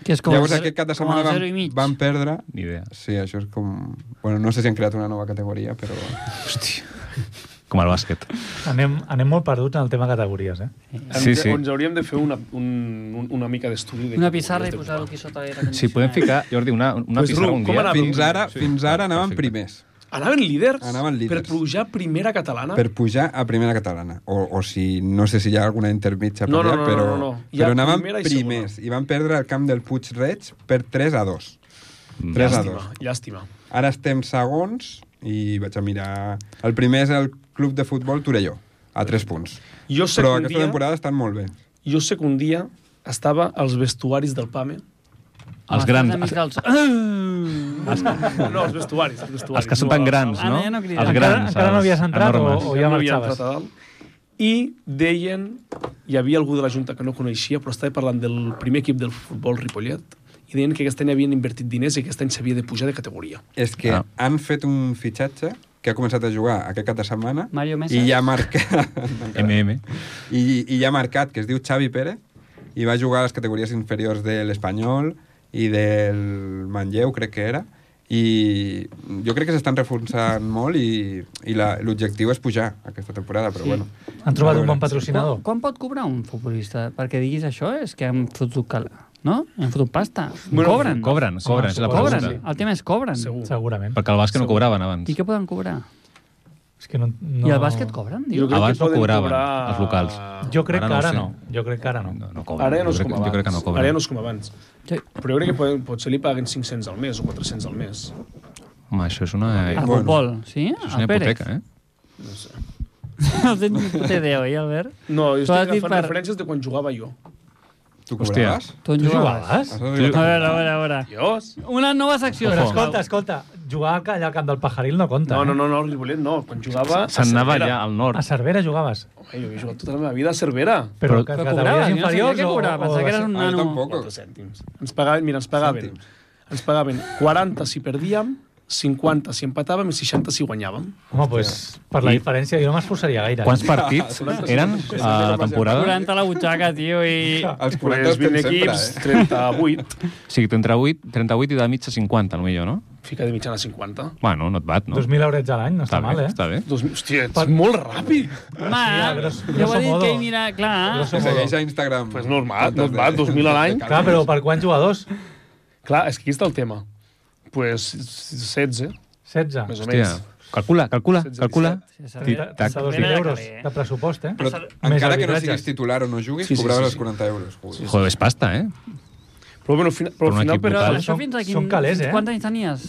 Que és Com com Llavors el zero- aquest cap de com el setmana zero i van, mig. van perdre... Ni idea. Sí, això és com... Bueno, no sé si han creat una nova categoria, però... Hòstia. Com el bàsquet. Anem, anem molt perduts en el tema categories, eh? Sí, sí. Ens hauríem de fer una, un, un, una mica d'estudi. de Una què pissarra i podries posar-ho aquí sota l'aire condicionat. Si podem ficar, Jordi, una, una Pues, pissarra Ru, un com dia... anava? Fins ara, Ah, Sí. fins ara anaven Perfecte. primers. Anaven líders, Anaven per líders. pujar a primera catalana? per pujar a primera catalana. O, o si, no sé si hi ha alguna intermitja per No, no, allà, no, no, però, no, no. Hi ha però anaven primera i primers. I van perdre el camp del Puig Reig per 3 a 2. Mm. 3 a 2. Llàstima, llàstima. Ara estem segons i vaig a mirar... El primer és el club de futbol Torelló, a 3 punts. Jo sé, Però que un aquesta dia, temporada estan molt bé. jo sé que un dia estava als vestuaris del PAME. Els Amb grans, els Ah! dels... No, els vestuaris. Els, vestuaris, els que són tan no, grans, Ara no? ja no criden. Els Encara- grans. encara Ah, no els havies entrat enormes. o ja no havia marxaves. entrat a dalt. I deien, hi havia algú de la Junta que no coneixia, però estava parlant del primer equip del futbol Ripollet, i deien que aquest any havien invertit diners i aquest any s'havia de pujar de categoria. És que Ah. han fet un fitxatge que ha començat a jugar aquest cap de setmana Mario Mesa. i ja (laughs) ha marcat... MM. i, i hi ha marcat, que es diu Xavi Pérez, i va jugar a les categories inferiors de l'Espanyol i del Manlleu, crec que era, i jo crec que s'estan reforçant molt i, i la- l'objectiu és pujar aquesta temporada, Sí. però sí. bueno. Han trobat un bon Quan, patrocinador. quan pot cobrar un futbolista? Perquè diguis això és que hem fotut cal... No? Hem fotut pasta. Bueno, cobren. Ah, Cobren, cobren, és la Cobren, pregunta. El tema és cobren. Segur. Segurament. Perquè el bàsquet no cobraven abans. I què poden cobrar? És que no, no... No. I el bàsquet cobren? Jo Diu? crec Abans que no poden cobraven, cobrar- els locals. Jo crec Ara que no ho ara sé. no. Jo crec que ara no. No, no cobren. Ara ja no és jo, com crec, abans. jo crec que no cobren. Ara ja no és com abans. Sí. Però jo crec que poden, potser li paguen 500 al mes o 400 al mes. Home, això és una... Ah, El Bueno. futbol, sí? Això és El una Ah, Pérez. (laughs) hipoteca, eh? No sé. El tens un TDO, eh, Albert? No, jo Tu has estic dit agafant per- referències de quan jugava jo. Tu Hòstia. cobraves? Tu on Tu jugaves? jugaves? Has arribat Doncs A a- veure, a veure, a veure. Dios! Una nova secció. Però sisplau. escolta, escolta, jugar al ca- allà al camp del Pajaril no compta. No, no, eh? no, no, Ripollet no. Quan jugava... a Ah, Se'n anava Cervera. allà al nord. A Cervera jugaves. Home, jo he jugat tota la meva vida a Cervera. Però, Però- que Però categories cobrava, jo no sabia inferiors què o- cobrava. o Pensava de- que eres un Ah, jo nano. tampoc. 4 cèntims. Ens pagaven, mira, ens pagaven. Cèntims. Ens pagaven 40 si perdíem, 50 si empatàvem i 60 si guanyàvem. Home, doncs, per la I- diferència jo no m'esforçaria gaire. eh? Quants partits eren a la temporada? 40 a tota la butxaca, tio, (laughs) i... Els 40 estem sempre, equips, eh? 38. O sigui, entre 8, 38 i de mitja 50, potser, no? Fica de mitjana 50. Bueno, no et bat, no? 2.000 eurets a l'any, no està, està mal, bé, eh? Està bé. Dos, hòstia, ets molt ràpid. Home, Ja, gros- ja ho grosso ha dit modo. que hi mira, clar. Que segueix a Instagram. Pues normal, normal, 2.000 a l'any. Clar, però per quants jugadors? Clar, és que aquí està el tema. Pues 16, 16. més o Hòstia, menys. calcula, calcula, 16, calcula. Sí, Tic-tac. Fins a 2.000 euros de pressupost, eh? Però Més encara que no arbitratges. siguis titular o no juguis, Sí, sí, sí, cobraves els sí. 40 euros. Ui. Joder, és pasta, eh? Però, bueno, fina, però Per un al final... equip Per, Però Total, això són- fins a quin... són calés, eh? Quants anys tenies?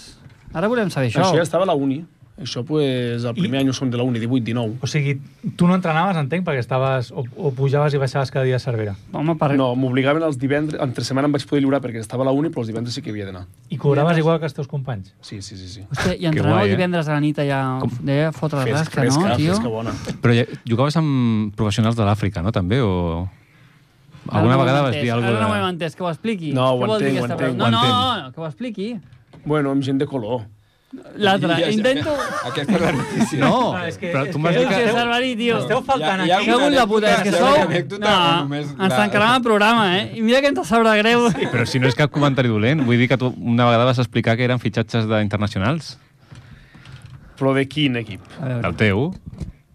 Ara volem saber això. això ja estava a la uni. Això, pues, el primer I... any ho som de la uni, 18-19. O sigui, tu no entrenaves, entenc, perquè estaves o, o pujaves i baixaves cada dia a Cervera. Home, per... No, m'obligaven els divendres... Entre setmana em vaig poder lliurar perquè estava a la uni, però els divendres sí que havia d'anar. I cobraves igual que els teus companys. Sí, sí, sí. sí. Hòstia, I Que entrenava guai, eh? divendres a la nit allà, deia fotre la rasca, no, fresca, tio? fresca bona. Però ja- jugaves amb professionals de l'Àfrica, no, també? O... Ara Alguna no ho vegada hem vas dir entès, alguna Ara no ho hem cosa de... entès, que ho expliqui. No, ho Què vol dir entenc, aquesta ho frase? entenc, No, ho no, entenc. no, que ho expliqui. Bueno, amb gent de color. L'altre, I- i- intento... Aquesta és la notícia. No, Ah, és que- però és tu m'has que- dit Tio, que és que... Esteu- Salvari, tio. Esteu faltant Hi ha- aquí. hi Que la puta, és que Hi ha sou... alguna anècdota o No, només ens la- tancaran el programa, eh? I mira que ens sabrà greu. Però si no és cap comentari dolent, vull dir que tu una vegada vas explicar que eren fitxatges d'internacionals, Però de quin equip? A veure, del teu.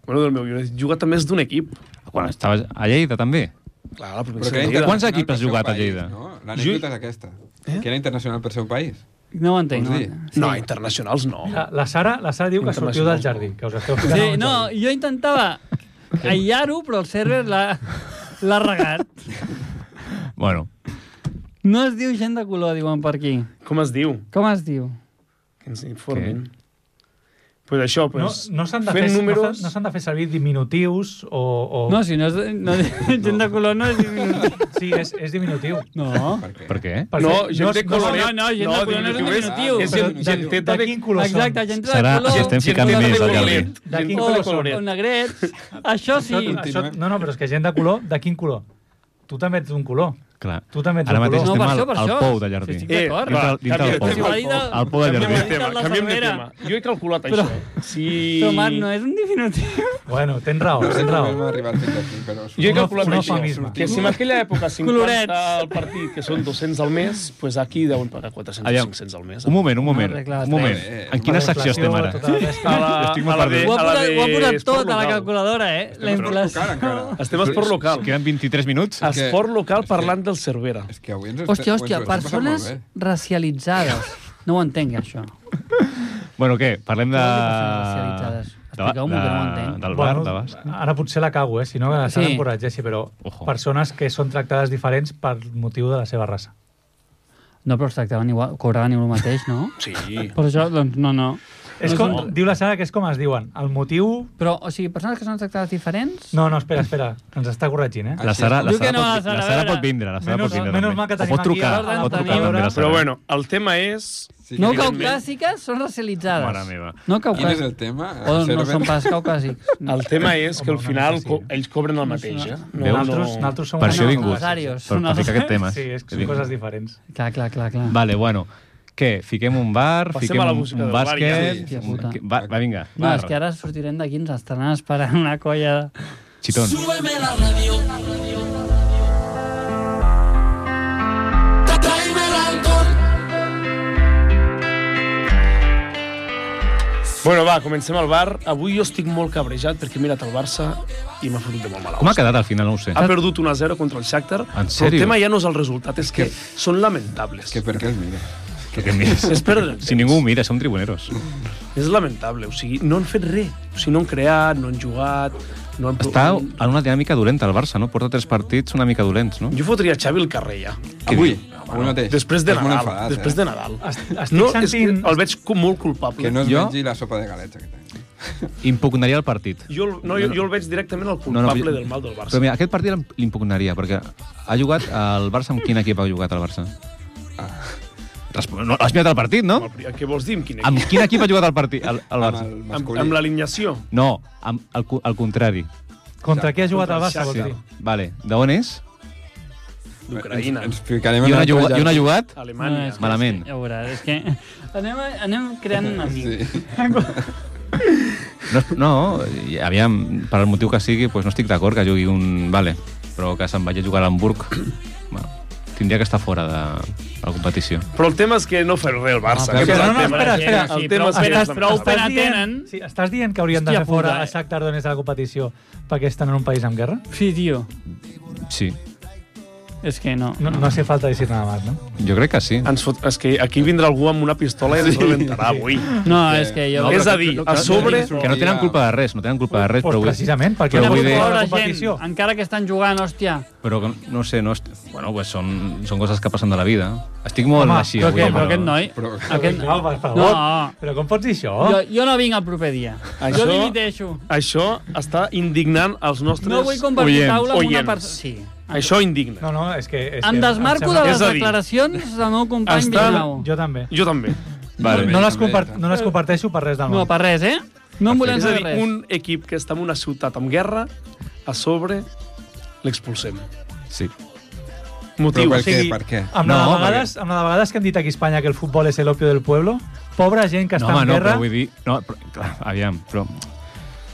Bueno, del meu, jo he jugat a més d'un equip. Quan estaves a Lleida, també. Clar, la Però província que era de Lleida. Quants internacional equips per has seu jugat a país, Lleida? No? L'anècdota Jo- és aquesta. Eh? Que era internacional per seu país. No ho entenc. Vols No, ho dir? entenc. No, internacionals no. La, la, Sara, la Sara diu que sortiu del jardí, que us esteu ficant Sí, al no, jardí. jo intentava aïllar-ho, però el server l'ha l'ha regat. Bueno, No es diu gent de color, diuen per aquí. Com es diu? Com es diu? Que ens informin. Pues això, No, pues, no s'han de, fer, fent números... no, números... s'han- no s'han de fer servir diminutius o... o... No, si no és... No, gent de color no és diminutiu. Sí, és, és diminutiu. No. Per què? per què? Per No, fer- gent de coloret. no, no, gent de color no és diminutiu diminutiu. És gent, Però gent de- teta de de... quin color són? Exacte, gent de Serà, color... si estem ficant teta de més al coloret. jardí. De quin Gent- color o, coloret? o negrets. Això sí. Això, això, Continuem. no, no, però és eh? que gent de color, de quin color? Tu també ets d'un color. Clar. Tu també ets Ara d'un mateix No, color. estem per al, això, per al això. pou de jardí. Sí, sí. Eh, D'acord. va, Dintre- canviem dintre del de pou. tema. Al- Al pou de Canviem de jardí. tema, La canviem de Cervera. tema. Jo he calculat Però- això. Sí... Però, Marc, no és un diminutiu. Bueno, tens raó, No sé tens com raó. hem arribat fins aquí, però... Jo he Una- calculat una això, eufemisme. que si en aquella època 50 Colorets. al partit, que són 200 al mes, pues aquí deuen pagar 400 o Aviam, 500 al mes. Un moment, un moment. arreglat, Un moment. eh? En quina La secció inflació, estem ara? tota la resta. A la, Estic molt a la de, perdut. Ho ha a la posat, de ho ha posat esport tot a la local. calculadora, eh? La Encara, inflació. encara. Estem a esport local. Ens Queden 23 minuts? que- Esport local és que- parlant del Cervera. És que avui ens ho Hòstia, estem- hòstia, ens ho estem passant molt persones bé. racialitzades. No ho entenc, això. Bueno, què? Parlem de... Racialitzades. Expliqueu-m'ho, que no ho de- entenc. Del bar, Bueno, de basc. ara potser la cago, eh? Si no, que Sí. sí. s'encorregeixi, però Ojo. persones que són tractades diferents per motiu de la seva raça. No, però es tractaven igual, cobraven igual el mateix, no? Sí. Per això, doncs, no, no. És No com, és un- diu la Sara que és com es diuen. El motiu... Però, o sigui, persones que són tractades diferents... No, no, espera, espera. Ens està corregint, eh? La Sara, la Diu que Sara, no, la pot, Sara, la a Sara veure. pot vindre, la Sara Menys- pot vindre. menys també. mal que o tenim pot aquí trucar, a l'Horta pot trucar Antonio. també la Sara. Però bueno, el tema és... Sí que No quin- caucàsiques són racialitzades. Mare meva. No Quin és el caucàsiques. tema? O doncs no Observen. són pas (laughs) caucàsics. No. El tema és que al Home, una final mica sí, co- eh? ells cobren el mateix, eh? Veus? Nosaltres, nosaltres som Per una- això he no, vingut. els àrios, Per, per no. ficar aquest tema. Sí, és que són coses diferents. Clar, clar, clar, clar. Vale, bueno. Què? Fiquem un bar, Passem fiquem a la un, música un del bar, ja. bàsquet... Hòstia un- puta. que- Va, va, vinga. No, bar. és que ara sortirem d'aquí, ens estaran esperant una colla... Xitons. Súbeme la radio. Tra- Tráeme el alcohol. Bueno, va, comencem al bar. Avui jo estic molt cabrejat perquè he mirat el Barça i m'ha fotut de molt mal. Com ha quedat al final? No ho sé. Ha perdut 1-0 contra el Shakhtar, però el sèrio? tema ja no és el resultat, és que són lamentables. Que per què els mires? Que, que (laughs) mires. És perdre el Si temps. ningú ho mira, som tribuneros. És lamentable, o sigui, no han fet res. O sigui, no han creat, no han jugat, no han... Està en una dinàmica dolenta el Barça, no? Porta tres partits una mica dolents, no? Jo fotria Xavi al carrer, ja. Avui, avui mateix. Després de Estàs molt Nadal. enfadat, després eh? de Nadal. Est- estic No, és que sentint- el veig com molt culpable. Que no es Jo? mengi la sopa de galets aquest any. Impugnaria el partit. Jo, el- no, jo, jo el veig directament el No, no, culpable però- del mal del Barça. Però mira, aquest partit l'im- l'impugnaria, perquè ha jugat el Barça amb quin equip ha jugat el Barça? Resp- No, has mirat el partit, no? Ah. Amb el- Què vols dir? Amb quin equip? Amb quin equip ha jugat el partit el, el Amb Barça? el Amb, masculí. amb l'alineació? No, amb el, co- el contrari. Contra qui ha jugat el Contra Barça, el vols Shakhtar. dir? Vale, d'on és? D'Ucraïna. Ens, ens ficarem I on ha altre jugat? I on ha lloc. jugat? No, Alemanya. és que- Malament. Ja veuràs, és que (laughs) anem, anem creant enemics. Sí. No, és- no i aviam, per el motiu que sigui, doncs no estic d'acord que jugui un... Vale, però que se'n vagi a jugar a Hamburg, bueno, tindria que estar fora de, de la competició. Però el tema és que no fa res el Barça. Ah, Aquest és Però el no, no, tema. espera, espera. El tema és que Estàs- és prou lamentable. pena dient- tenen. Sí, estàs dient que haurien de Hòstia fer fora puta, eh? a Shakhtar Donetsk de la competició perquè estan en un país amb guerra? Sí, tio. Sí, És que no. No, no hace falta decir nada más, ¿no? jo crec que sí. Ens fot... És que aquí vindrà algú amb una pistola i ens rebentarà avui. No, és que jo... No, és a però que- dir, que- a que- sobre- Que no tenen culpa de res, no tenen culpa de res, Pues però vull dir... precisament, perquè però no vull dir- de la Pobra competició. gent, encara que estan jugant, hòstia. Però que, no sé, no... est- Bueno, pues són, són coses que passen de la vida. Estic molt Home, així però, avui. que, però aquest noi... Però, Aquest... No, per favor. Oh. No. Però com pots dir això? Jo, jo no vinc el proper dia. Això- Jo dimiteixo. Això està indignant els nostres... No vull compartir oients, taula amb una oients. persona... Sí. Això indigna. No, no, és que... És Em que desmarco de sembla- És les a dir, declaracions del meu company estan- Vilanau. Jo també. Jo també. Vale. No, les també, compart també. no les comparteixo per res del món. No, per res, eh? No em volem És a saber dir, res. un equip que està en una ciutat amb guerra, a sobre l'expulsem. Sí. Motiu. Però per o sigui, què? Per què? Amb, la No, de vegades, amb la de vegades que hem dit aquí a Espanya que el futbol és el opio del pueblo, pobra gent que No, està home, en no, guerra... però vull dir... No, però, clar, aviam, però...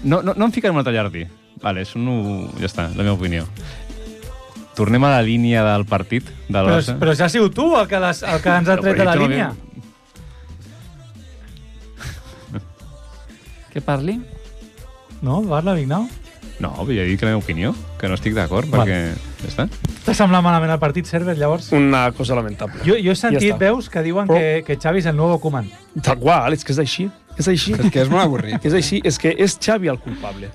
No, no, no em ficaré en un altre jardí. Vale, és un... Ja està, la meva opinió. Tornem a la línia del partit de la però, Barça. però ja has sigut tu el que, les, el que ens ha No, tret però de la jo no línia. Que parli? No, parla, Vignau. No, jo he dit que la meva opinió, que no estic d'acord, Val. perquè... Ja està. T'ha semblat malament el partit, Server, llavors? Una cosa lamentable. Jo, jo he sentit està. veus que diuen Però- que, que Xavi és el nou Koeman. Tal qual, és que és així. És així. És que és molt avorrit. És així, és que és Xavi el culpable.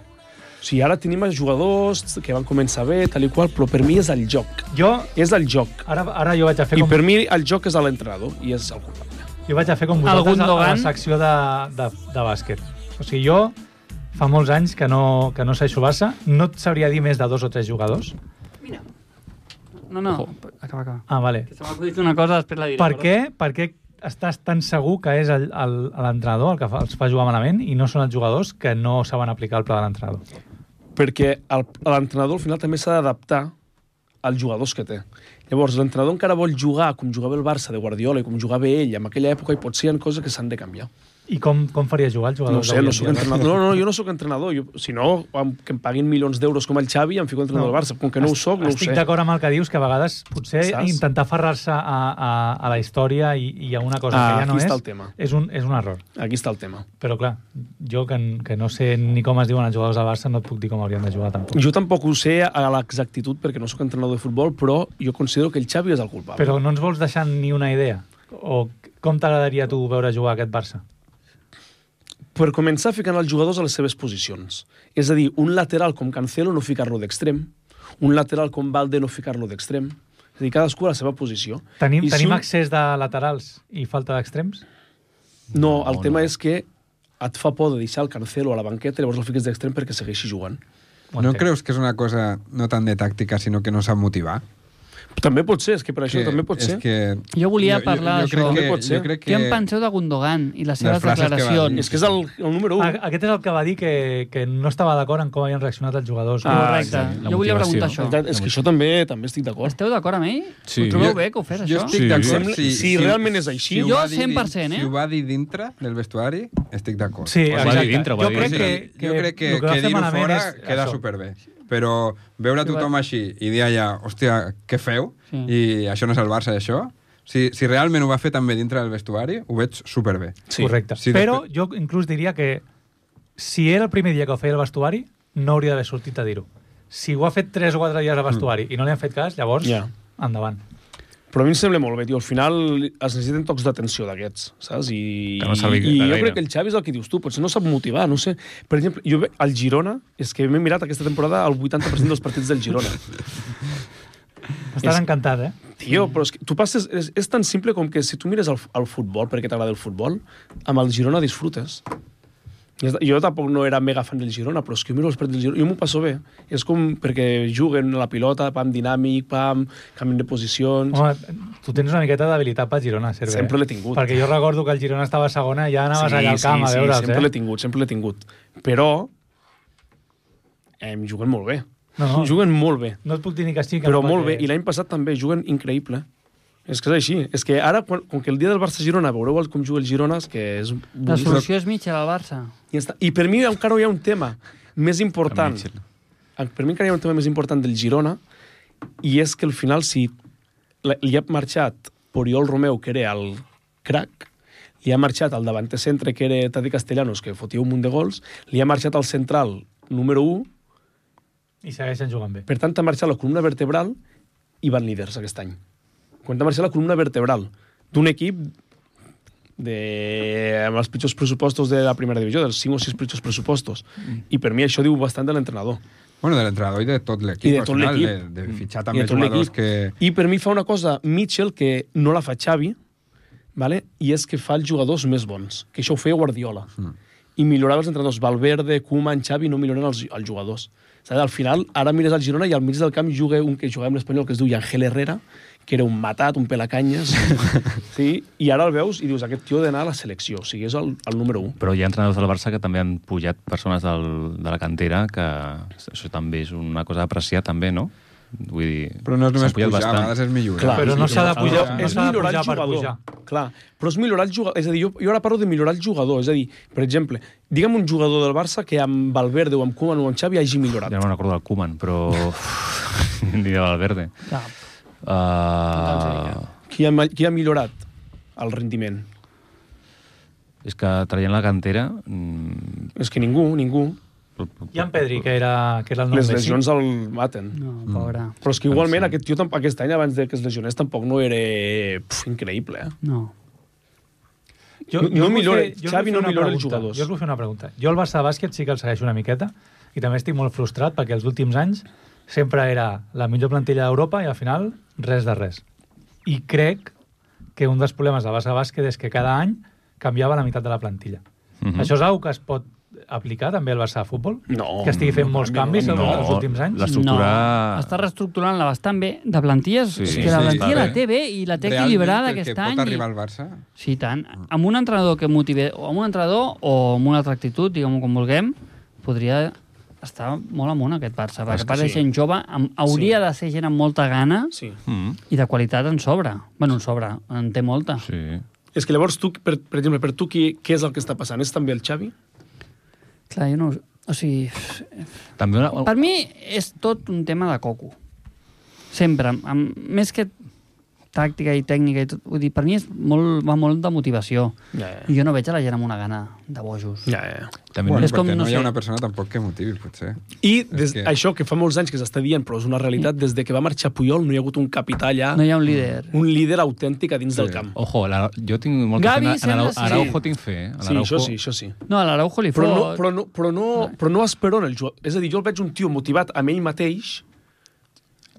O sigui, ara tenim els jugadors que van començar bé, tal i qual, però per mi és el joc. Jo, És el joc. ara, ara jo vaig a fer I com, per mi el joc és a l'entrenador i és el culpable. jo vaig a fer com Algun vosaltres a, a la Dogan? secció de, de, de bàsquet. O sigui, jo fa molts anys que no, que no sé jugar-se, no et sabria dir més de dos o tres jugadors. No, no, acaba, acaba. Ah, vale. Que se m'ha acudit una cosa, després la diré. Per perdó. què, per què estàs tan segur que és el- el- l'entrenador el, el que fa, els fa jugar malament i no són els jugadors que no saben aplicar el pla de l'entrenador? Perquè el- l'entrenador al final també s'ha d'adaptar als jugadors que té. Llavors, l'entrenador encara vol jugar com jugava el Barça de Guardiola i com jugava ell en aquella època i potser hi ha coses que s'han de canviar. I com, com faria jugar els No ho jugadors? sé, no d'avui sóc en dia? entrenador. No, no, jo no sóc entrenador. Jo, si no, em- que em paguin milions d'euros com el Xavi, em fico entrenador No. del Barça. Com que no ho soc, no ho Estic sé. d'acord amb el que dius, que a vegades potser Saps? Saps? intentar aferrar-se a, a, a la història i, i a una Ah, cosa que ja no aquí és, està el tema. És, un, és un error. Aquí està el tema. Però clar, jo que, n- que no sé ni com es diuen els jugadors del Barça, no et puc dir com haurien de jugar tampoc. Jo tampoc ho sé a l'exactitud perquè no sóc entrenador de futbol, però jo considero que el Xavi és el culpable. Però no ens vols deixar ni una idea? O com t'agradaria a tu veure jugar aquest Barça? Per començar, ficant els jugadors a les seves posicions. És a dir, un lateral com Cancelo no ficar-lo d'extrem, un lateral com Valde no ficar-lo d'extrem. És a dir, cadascú a la seva posició. Tenim, I si tenim un- accés de laterals i falta d'extrems? No, el No, tema no. és que et fa por de deixar el Cancelo a la banqueta i llavors el fiques d'extrem perquè segueixi jugant. Ho No entenc. creus que és una cosa no tant de tàctica, sinó que no sap motivar? També pot ser, és que per això que, també pot ser. És que... Jo volia parlar jo, d'això. jo, crec També pot que, ser. jo crec Què que... en penseu de Gundogan i les seves frases que va dir. declaracions? És que és el, el número 1. A- Aquest és el que va dir que, que no estava d'acord en com havien reaccionat els jugadors. Ah, Correcte. sí, la jo volia motivació. preguntar això. és que això també també estic d'acord. Esteu d'acord amb ell? Sí. Ho trobeu Jo- bé que ho fes, Jo això? estic Sí. d'acord. Sembla- si realment és així. ho Jo va dir dins- 100%, eh? Si ho va dir dintre del vestuari, estic d'acord. Sí, Ho va dir exacte. dintre, ho va jo dir crec dintre. que, que, jo crec que, el va que, fer dir-ho malament fora és queda això. superbé. Però veure tothom així i dir allà, hòstia, què feu? Sí. I això no és el Barça, i això? Si, si realment ho va fer també dintre del vestuari, ho veig superbé. Sí. Correcte. Sí, Sí, Però després- jo inclús diria que si era el primer dia que ho feia al vestuari, no hauria d'haver sortit a dir-ho. Si ho ha fet 3 o 4 dies al vestuari i no li han fet cas, llavors, Mm. Ja. yeah. endavant. Però a mi em sembla molt bé, tio. Al final es necessiten tocs d'atenció d'aquests, saps? I, Que no servi i de jo gaire. crec que el Xavi és el que dius tu, potser no sap motivar, no sé. Per exemple, jo ve- al Girona, és que m'he mirat aquesta temporada el 80% dels partits del (laughs) Girona. Estàs És- encantat, eh? Tio, però és que tu passes... És, és tan simple com que si tu mires el, f- el futbol, perquè t'agrada el futbol, amb el Girona disfrutes. I és- Jo tampoc no era mega fan del Girona, però és que miro els partits del Girona, jo m'ho passo bé. És com perquè juguen a la pilota, pam, dinàmic, pam, canvien de posicions... Home, tu tens una miqueta d'habilitat per Girona, Serve. Mm. Sempre eh? l'he tingut. Perquè jo recordo que el Girona estava a segona i ja anaves allà al camp sí, a veure'ls, sí, sempre l'he eh? tingut, sempre l'he tingut. Però em juguen molt bé. No, no, Juguen molt bé, no et puc dir ni que sí, que però no, molt bé. perquè- I l'any passat també juguen increïble. És que és així. És que ara, quan, com que el dia del Barça-Girona, veureu el com juga el Girona, és que és La boníssim. solució és Mitchell al Barça. I, ja està. I per mi encara hi ha un tema més important. Ah, Amb Mitchell. Per mi encara hi ha un tema més important del Girona, i és que al final, si la- li ha marxat Poriol Romeu, que era el crack, li ha marxat al davanter centre, que era Tati Castellanos, que fotia un munt de gols, li ha marxat al central número 1, I segueixen jugant bé. per tant, t'ha marxat la columna vertebral i van líders aquest any. Quan t'ha marxat la columna vertebral d'un equip de, amb els pitjors pressupostos de la primera divisió, dels 5 o 6 pitjors pressupostos. I per mi això diu bastant de l'entrenador. Bueno, de l'entrenador i de tot l'equip. I de al tot final, l'equip. Mm. De, de fitxar I també de tot jugadors l'equip. que... I per mi fa una cosa Mitchell que no la fa Xavi, vale? i és que fa els jugadors més bons, que això ho feia Guardiola. Hmm. Mm. I millorava els entrenadors. Valverde, Koeman, Xavi no milloren els, els jugadors. És a dir, Al final, ara mires al Girona i al mig del camp juga un que jugava amb l'Espanyol que es diu Angel Herrera, que era un matat, un (laughs) pelacanyes. sí? I ara el veus i dius, aquest tio ha d'anar a la selecció. O sigui, és el, el número 1. Però hi ha entrenadors del Barça que també han pujat persones del, de la cantera, que això també és una cosa d'apreciar, també, no? Vull dir, Però no és s'han només pujat pujar, a bastant. vegades és millorar. Clar, Però no s'ha de pujar, Però no és s'ha de millorar pujar el per jugador. pujar. Clar, però és millorar el jugador. És a dir, jo, jo ara parlo de millorar el jugador. És a dir, per exemple, digue'm un jugador del Barça que amb Valverde o amb Koeman o amb Xavi hagi millorat. Ja no me'n recordo del Koeman, però... (laughs) Ni de Valverde. Clar. Doncs Uh, Qui ha, qui ha millorat el rendiment? és que traient la cantera... mm, És que ningú, ningú. I en Pedri, que era, que era el nom Les Messi. lesions el maten. No, pobre. Però és que igualment aquest tio tamp- aquest any abans de que es lesionés tampoc no era puf, increïble. Eh? No. No- us no vull millora, fer- jo us Xavi vull fer no una millora els pregunta, jugadors. Jo us vull fer una pregunta. Jo el Barça de bàsquet sí que el segueixo una miqueta i també estic molt frustrat perquè els últims anys sempre era la millor plantilla d'Europa i al final res de res. I crec que un dels problemes del Barça de bàsquet és que cada any canviava la meitat de la plantilla. Mhm. Això és una que es pot aplicar també al Barça de futbol? No, Que estigui fent no molts canvia, canvis no. els els últims anys? L'estructura... No, està reestructurant-la bastant bé, de plantilles, Sí, sí, sí, que la sí, plantilla està la bé. té bé i la té Realment, equilibrada el que aquest pot any. i- arribar al Barça... Sí, i tant. Amb un entrenador que motive, o amb un entrenador o amb una altra actitud, diguem-ho com vulguem, podria estar molt amunt aquest Barça, Ah, perquè a part de sí. gent jove, amb, hauria de ser gent amb molta gana Sí. Mm, i de qualitat en sobra. bueno, en sobra, en té molta. sí. És que llavors tu, per, per exemple, per tu qui, què és el que està passant? És també el Xavi? Clar, jo no... ho- O sigui, També una... per mi és tot un tema de coco. Sempre. Amb, més que tàctica i tècnica i tot, vull dir, per mi és molt, va molt de motivació. Ja, I jo no veig a la gent amb una gana de bojos. ja, ja. També Bueno, És com, perquè no, no hi ha sé. una persona tampoc que motivi, potser. I des, És que- això que fa molts anys que s'està dient, però és una realitat, des de que va marxar Puyol no hi ha hagut un capità allà, No hi ha un líder. un líder autèntic a dins Sí. del camp. Ojo, la, jo tinc molta Gavi fe en- en sembla Arau- ser- Araujo, tinc fe. eh? En Sí, Araujo- això sí, això sí. No, a l'Araujo li Però no, fot. però, no, però, no, però no esperon el jugador. És a dir, jo el veig un tio motivat amb ell mateix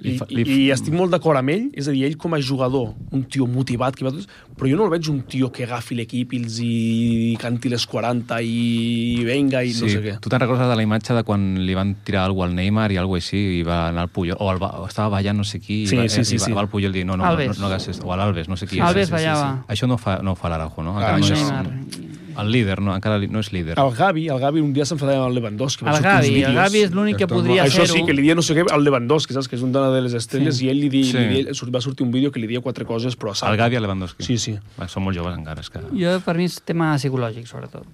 i, Li fa- i, li fa- i estic molt d'acord amb ell, és a dir, ell com a jugador, un tio motivat, que va tot, però jo no el veig un tio que agafi l'equip i els hi canti les 40 i venga i Sí, no sé què. tu te'n recordes de la imatge de quan li van tirar alguna al Neymar i alguna així i va anar al Puyol, o, el va, o estava ballant no sé qui, Sí, i, va, sí, eh, sí, i va, sí. va al Puyol dir no, no, no, Alves. no, no hagas esto, o a l'Albes, no sé qui. Alves sí, sí, sí, ballava. sí. Això no ho fa, no ho fa l'Araujo, no? Ah, Encara no això Ah, és, Neymar. el líder, no? encara li- no és líder. El Gavi, el Gavi un dia s'enfadava amb el Lewandowski. van El sortir uns Gavi, el vídeos. Gavi és l'únic que Exacte. podria Això fer-ho. sí, que li dia no sé què al Lewandowski, saps? Que és un dona de les estrelles Sí. sí. i ell li, di, Sí. li, di, surt- va sortir un vídeo que li dia quatre coses, però El saps? Gavi i el Lewandowski. Sí, sí. Va, són molt joves encara, és que... Jo, per mi, és tema psicològic, sobretot.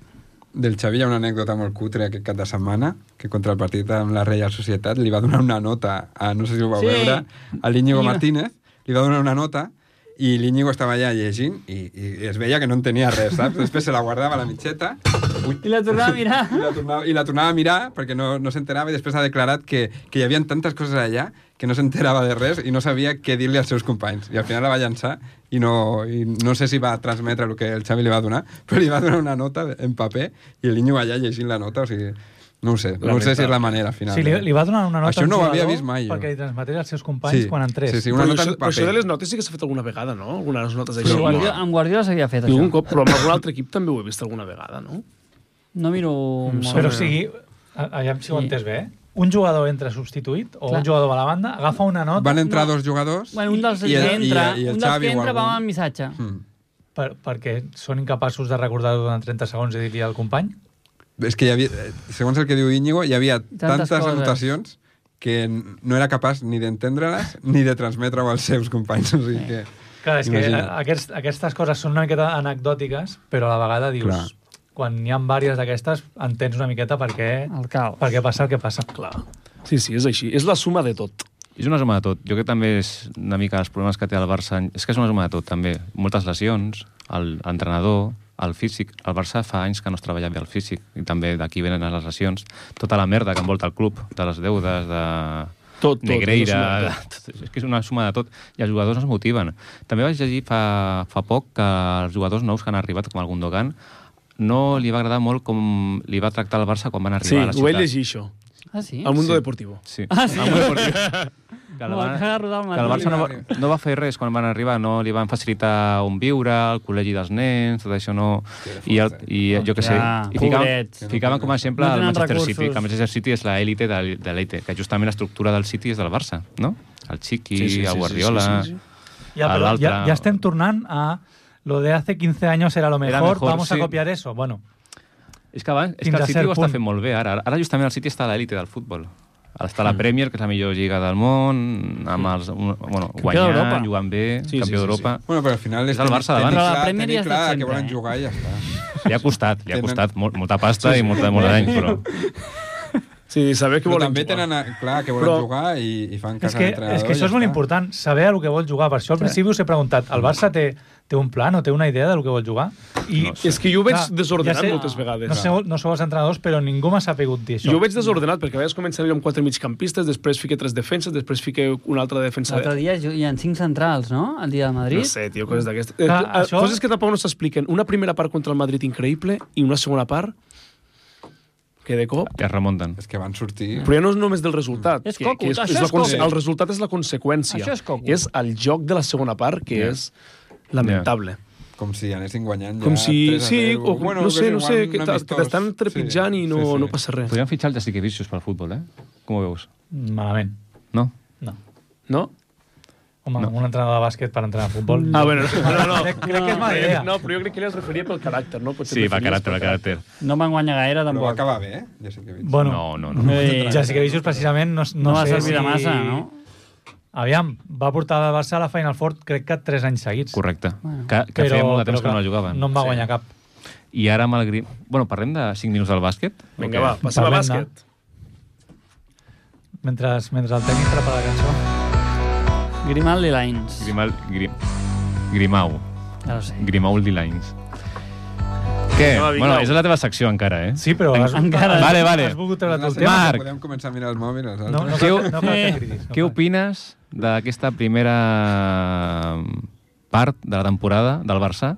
Del Xavi hi ha una anècdota molt cutre aquest cap de setmana, que contra el partit amb la Reial Societat li va donar una nota, a, no sé si ho vau Sí. sí. veure, a l'Iñigo Iba. Martínez, li va donar una nota i l'Iñigo estava allà llegint i, i, es veia que no entenia res, saps? Després se la guardava a la mitxeta ui, I la (laughs) tornava a mirar. i, la tornava, i la tornava a mirar perquè no, no s'enterava i després ha declarat que, que hi havia tantes coses allà que no s'enterava de res i no sabia què dir-li als seus companys. I al final la va llançar i no, i no sé si va transmetre el que el Xavi li va donar, (laughs) però li va donar una nota en paper i el niño allà llegint la nota, o sigui... No ho sé, no ho sé si és la manera, al final. eh. Sí, li, li va donar una nota Això al no ho havia jugador vist mai, jo. Perquè li transmetés als seus companys Sí, quan entrés. sí, sí, Però, Una nota això, en però això paper. de les notes sí que s'ha fet alguna vegada, no? Algunes notes així. Però Guardiola, amb Guardiola s'havia fet, I això. algun cop, però amb algun altre equip també ho he vist alguna vegada, no? No miro... molt. Però o sigui, a- aviam si ho he Sí. entès bé, eh? un jugador entra substituït o Clar. un jugador a la banda, agafa una nota Van entrar dos jugadors... Bueno, un dels i que el- entra, i- i el un dels Xavi que o entra va algun. amb el missatge. Mm. per, perquè són incapaços de recordar-ho durant 30 segons i dir-li al company. És que hi havia, eh, segons el que diu Íñigo, hi havia Tantes tantes, coses. anotacions que n- no era capaç ni d'entendre-les (laughs) ni de transmetre-ho als seus companys. O sigui que... Clar, és que Imagina't. a- aquests, aquestes coses són una miqueta anecdòtiques, però a la vegada dius... Clar. Quan n'hi ha diverses d'aquestes, entens una miqueta per què, El caos. per què passa el que passa. Clar. Sí, sí, és així. És la suma de tot. És una suma de tot. Jo crec que també és una mica els problemes que té el Barça. És que és una suma de tot, també. Moltes lesions, el- l'entrenador, el físic. El Barça fa anys que no es treballa bé el físic i també d'aquí venen les lesions. Tota la merda que envolta el club, de les deudes, de... Tot, tot, és una Negreira... suma de De... tot. És que és una suma de tot. I els jugadors no es motiven. També vaig llegir fa, fa poc que els jugadors nous que han arribat, com el Gundogan, no li va agradar molt com li va tractar el Barça quan van Sí, arribar a la ciutat. ho vaig llegir, això. Ah, sí? Al Mundo Sí. Deportivo. Sí. Ah, sí? Amb un deportiu. (laughs) Que, el No, van- que va rodar el que el Barça no va, Madrid. no va fer res quan van arribar, no li van facilitar on viure, el col·legi dels nens, tot això no... I, el, eh? i jo què sé, Hòstia, i ficaven, pobrets. ficaven com a exemple No el tenen Manchester recursos. City, que el Manchester City és l'elite de, de l'elite, que justament l'estructura del City és del Barça, no? El Chiqui, Sí, sí, sí, el sí, Guardiola... sí, sí, sí. Ja, A però l'altre- ja, ja estem tornant a lo de hace 15 años era lo mejor, Era mejor, vamos a sí. copiar eso. Bueno, És que, abans, és Fins que el a City cert ho està punt. fent molt bé ara. Ara justament el City està a l'elite del futbol. Ara està a la Mm. Premier, que és la millor lliga del món, amb els, un, bueno, d'Europa. guanyant, jugant bé, Sí, sí, campió sí, d'Europa... Bueno, però al final És el Barça davant. tenir Però la clar, Premier tenir ja ha clar estat que volen sempre, eh? jugar i ja està. Li ha costat, li ha Tenen- (laughs) costat molt, molta pasta i molta, molt d'anys, però... Sí, saber què Però volen també jugar. tenen... a- Clar, que volen Però- jugar i, i fan És casa que, d'entrenador. és que això i és ja molt està. important, saber el que vol jugar. Per això al principi us he preguntat, el Barça té, té un plan o té una idea del que vol jugar? I, No sé. És que jo ho veig Clar, desordenat ja sé- moltes vegades. No, sé, no sou els entrenadors, però ningú m'ha sabut dir això. Jo ho veig desordenat, perquè a vegades comença allò amb quatre migcampistes, després fica tres defenses, després fica una altra defensa... L'altre dia ju- hi ha cinc centrals, no? El dia de Madrid. Mm. No sé, tio, coses d'aquestes. Eh, Clar, eh, això- Coses que tampoc no s'expliquen. Una primera part contra el Madrid increïble i una segona part que de cop... Ja es remunten. És que van sortir... Ah. Però ja no és només del resultat. Mm. És que- coco, que és, això és la, és coco. conse- El resultat és la conseqüència. Això és coco. És el joc de la segona part, que Ja. és lamentable. Com si anessin guanyant ja Com si... 3 a Sí, 0. o, Bueno, no sé, és no igual, sé, que un t'a- que amistós. t'estan trepitjant Sí, i no, sí, sí. no passa res. Podríem fitxar el Jessica Vicious pel futbol, eh? Com ho veus? Malament. No? No. No? Home, no. un entrenador de bàsquet per entrenar a futbol. Ah, bueno, no, no, no. Crec, crec que és mala Però jo- idea. No, però jo crec que ell es referia pel caràcter, no? Potser Sí, et va referies caràcter, va pel caràcter. No van guanyar gaire, Però va tampoc. acabar bé, eh? Ja sé que veig. Bueno, No, no, No, no. eh, Jessica Vicious precisament no, no, no, va sé servir si... de massa, no? Aviam, va portar el Barça a la Final Four crec que 3 anys seguits. Correcte. Bueno. Que, que feia molt de temps que clar, no la jugaven. No en va guanyar cap. I ara amb el Grim... Bueno, parlem de 5 minuts del bàsquet? Vinga, Ok. va, passem a Parlem-ne. bàsquet. Mentre, mentre el tècnic prepara la cançó. Grimaldi Lines. Grimal, grim, Grimau. Ja ho sé. Grimau Lines. Què? No, vinga. bueno, és la teva secció encara, eh? Sí, però... Has, Encara. Vale, vale. Has volgut treure No tu el sé, tema. Marc. Podem començar a mirar els mòbils, els No, altres. no, Què cal, ho- no cal que cridis. No Què cal. opines d'aquesta primera part de la temporada del Barça